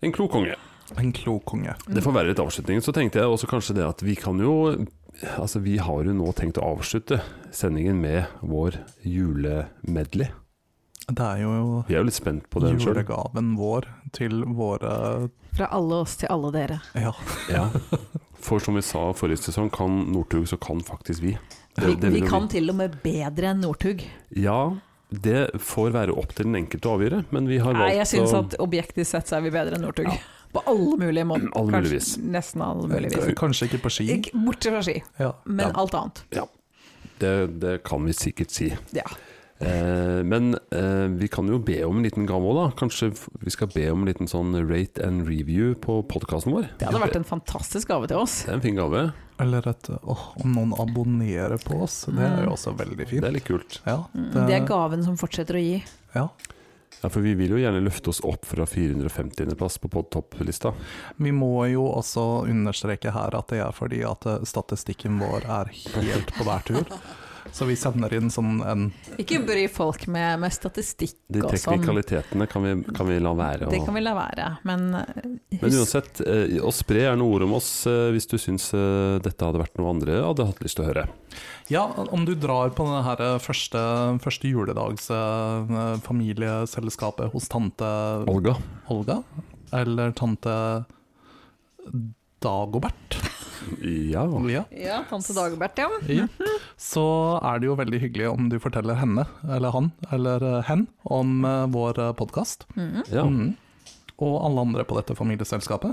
Speaker 1: En klok konge
Speaker 2: En klok konge.
Speaker 1: Det får være litt avslutning Så tenkte jeg også kanskje det at vi kan jo Altså vi har jo nå tenkt å avslutte Sendingen med vår julemedley
Speaker 2: Det er jo
Speaker 1: Vi er jo litt spent på den selv
Speaker 2: julegaven vår til våre
Speaker 3: Fra alle oss til alle dere.
Speaker 2: Ja.
Speaker 1: ja. For som vi sa forrige sesong Kan Nordtug så kan faktisk vi
Speaker 3: Vi,
Speaker 1: det vil
Speaker 3: vi
Speaker 1: jo
Speaker 3: kan til og med bedre enn Northug.
Speaker 1: Ja, det får være opp til den enkelte å avgjøre Men vi har valgt
Speaker 3: Nei, jeg syns
Speaker 1: å-
Speaker 3: at objektivt sett så er vi bedre enn Northug. På alle mulige måter.
Speaker 1: Alle mulige vis.
Speaker 3: Kanskje, nesten alle mulige vis.
Speaker 2: eh, Kanskje ikke på ski.
Speaker 3: Ikke- Bortsett fra ski,
Speaker 2: Ja.
Speaker 3: men
Speaker 1: Ja.
Speaker 3: alt annet.
Speaker 1: Ja, det, det kan vi sikkert si.
Speaker 3: Ja.
Speaker 1: Eh, men eh, vi kan jo be om en liten gave òg, da. Kanskje f- vi skal be om en liten sånn rate and review på podkasten vår?
Speaker 3: Det hadde vært en fantastisk gave til oss.
Speaker 1: Det er en fin gave.
Speaker 2: Eller et åh, om noen abonnerer på oss. Det er jo også veldig
Speaker 1: Det
Speaker 2: fint.
Speaker 1: er litt kult.
Speaker 2: Ja,
Speaker 3: Mm. Det er gaven som fortsetter å gi.
Speaker 2: ja.
Speaker 1: Ja, For vi vil jo gjerne løfte oss opp fra 450.-plass på podtopplista.
Speaker 2: Vi må jo også understreke her at det er fordi at eh, statistikken vår er helt på hver tur. Så vi sender inn sånn en
Speaker 3: Ikke bry folk med, med statistikk
Speaker 1: De
Speaker 3: og sånn.
Speaker 1: teknikalitetene kan vi, kan vi la være. å-
Speaker 3: Det kan vi la være, men eh,
Speaker 1: Men
Speaker 3: husk
Speaker 1: uansett, eh, å spre gjerne ord om oss eh, hvis du syns eh, dette hadde vært noe andre hadde hatt lyst til å høre.
Speaker 2: Ja, om du drar på den her eh, første, første juledags eh, familieselskapet hos tante
Speaker 1: Olga.
Speaker 2: Olga, eller tante Dagobert.
Speaker 1: Ja.
Speaker 3: Mm.
Speaker 2: Ja.
Speaker 3: Ja, tante Dagbert, ja.
Speaker 2: Ja. Så er det jo veldig hyggelig om du forteller henne, eller han, eller eh, hen, om eh, vår podkast.
Speaker 1: ja.
Speaker 2: Mm. Og alle andre på dette familieselskapet.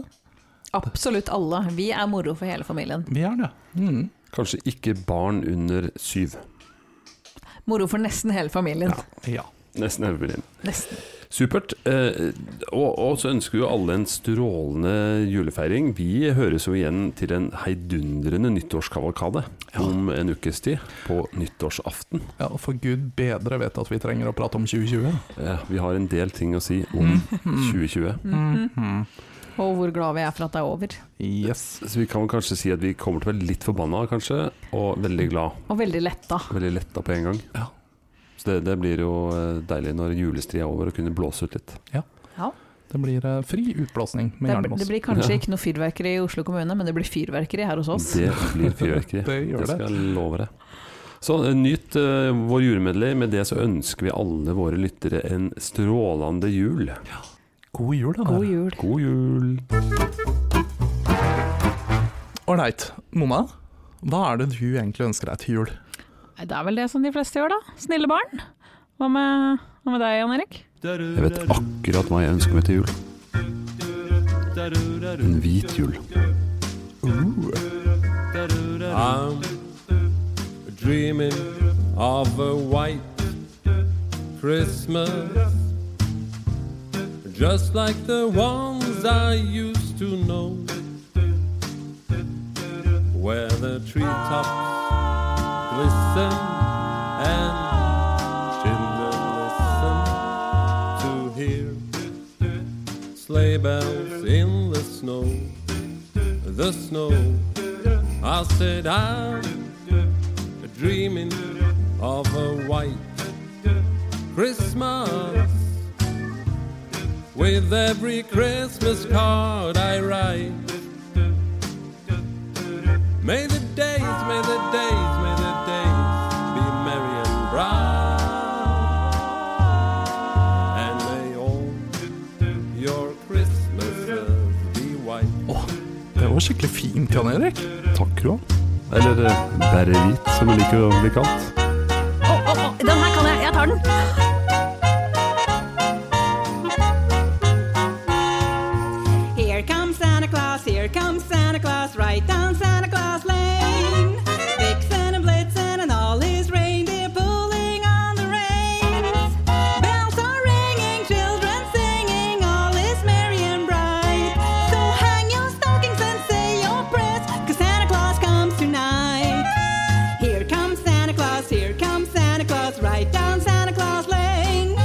Speaker 3: Absolutt alle. Vi er moro for hele familien.
Speaker 2: Vi er det. Mm.
Speaker 1: Kanskje ikke barn under syv.
Speaker 3: Moro for nesten hele familien.
Speaker 2: Ja.
Speaker 1: Nesten hele familien.
Speaker 3: Nesten.
Speaker 1: Supert. Eh, og, og så ønsker vi jo alle en strålende julefeiring. Vi høres jo igjen til en heidundrende nyttårskavalkade om en ukes tid, på nyttårsaften.
Speaker 2: ja. Og for gud bedre vet at vi trenger å prate om 2020.
Speaker 1: Eh, vi har en del ting å si om
Speaker 2: Mm.
Speaker 1: 2020.
Speaker 3: Og hvor glad vi er for at det er over.
Speaker 2: Yes.
Speaker 1: Så vi kan vel kanskje si at vi kommer til å være litt forbanna, kanskje, og veldig glad.
Speaker 3: Og veldig letta.
Speaker 1: Veldig letta på en gang.
Speaker 2: Mm. Ja.
Speaker 1: Så det, det blir jo eh, deilig når julestria er over, å kunne blåse ut litt.
Speaker 2: Det blir eh, fri utblåsning med
Speaker 3: Det, det
Speaker 2: Jernemos.
Speaker 3: blir kanskje ikke noe fyrverkeri i Oslo kommune, men det blir fyrverkeri her hos oss.
Speaker 1: Det blir fyrverkeri.
Speaker 2: Det gjør
Speaker 1: Det
Speaker 2: det.
Speaker 1: skal jeg love deg. Så eh, nyt eh, vår julemedley. Med det så ønsker vi alle våre lyttere en strålende jul.
Speaker 2: God jul, da.
Speaker 3: God jul.
Speaker 1: God jul!
Speaker 2: Ålreit. Mona, hva er det du egentlig ønsker deg til jul?
Speaker 3: Nei, Det er vel det som de fleste gjør, da. Snille barn. Hva med, hva med deg, Jan Erik?
Speaker 1: Jeg vet akkurat hva jeg ønsker meg til jul. En hvit jul.
Speaker 5: I'm dreaming of a white Christmas, just like the ones I used to know, where the treetops glisten and children listen to hear sleigh bells in the snow, the snow. I said I'm dreaming of a white Christmas. With every Christmas card I write, may the days, may the days, may the days be merry and bright, and may all your Christmases be white.
Speaker 2: Det var skikkelig fint, Jan Erik.
Speaker 1: Takk, Roald. Eller eh, bærehvit, som vi liker å bli kalt.
Speaker 3: Å, å, å, den her kan jeg! Jeg tar den!
Speaker 6: Here comes Santa Claus, here comes Santa Claus, right down Santa Claus Lane. Vixen and Blitzen and all his reindeer pulling on the reins. Bells are ringing, children singing, all is merry and bright. So hang your stockings and say your prayers, cause Santa Claus comes tonight. Here comes Santa Claus, here comes Santa Claus, right down Santa Claus Lane.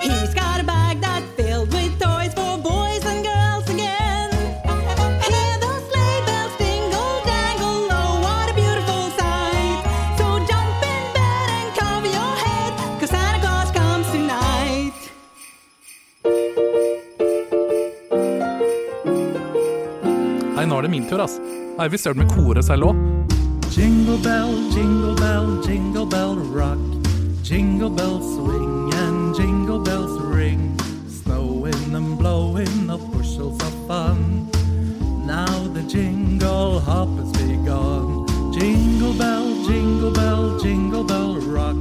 Speaker 6: He's got a bag that's filled with toys for boys and girls again. Hear those sleigh bells dingle dangle, oh what a beautiful sight. So jump in bed and cover your head, cause Santa Claus comes tonight.
Speaker 2: Nei, nå er det min tur, ass. Nei, vi ser det med koret selv òg.
Speaker 7: Jingle bell, jingle bell, jingle bell rock. Jingle bells swing and jingle bells ring. Snowing and blowing up bushels of fun. Now the jingle hop has begun. Jingle bell, jingle bell, jingle bell rock.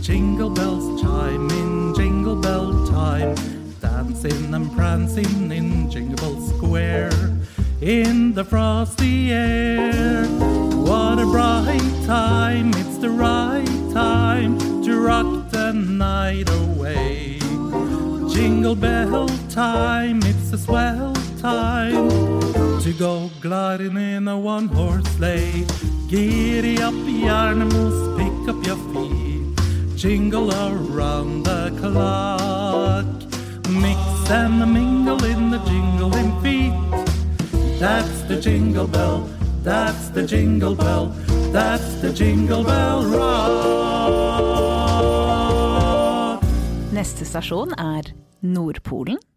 Speaker 7: Jingle bells chime in jingle bell time. Dancing and prancing in Jingle Bell Square in the frosty air. What a bright time, it's the right time to rock the night away. Jingle bell time, it's a swell time to go gliding in a one horse sleigh. Giddy up, yarnamos, pick up your feet. Jingle around the clock. Mix and mingle in the jingling feet. That's the jingle bell, that's the jingle bell, that's the jingle bell rock.
Speaker 3: Neste stasjon er Nordpolen.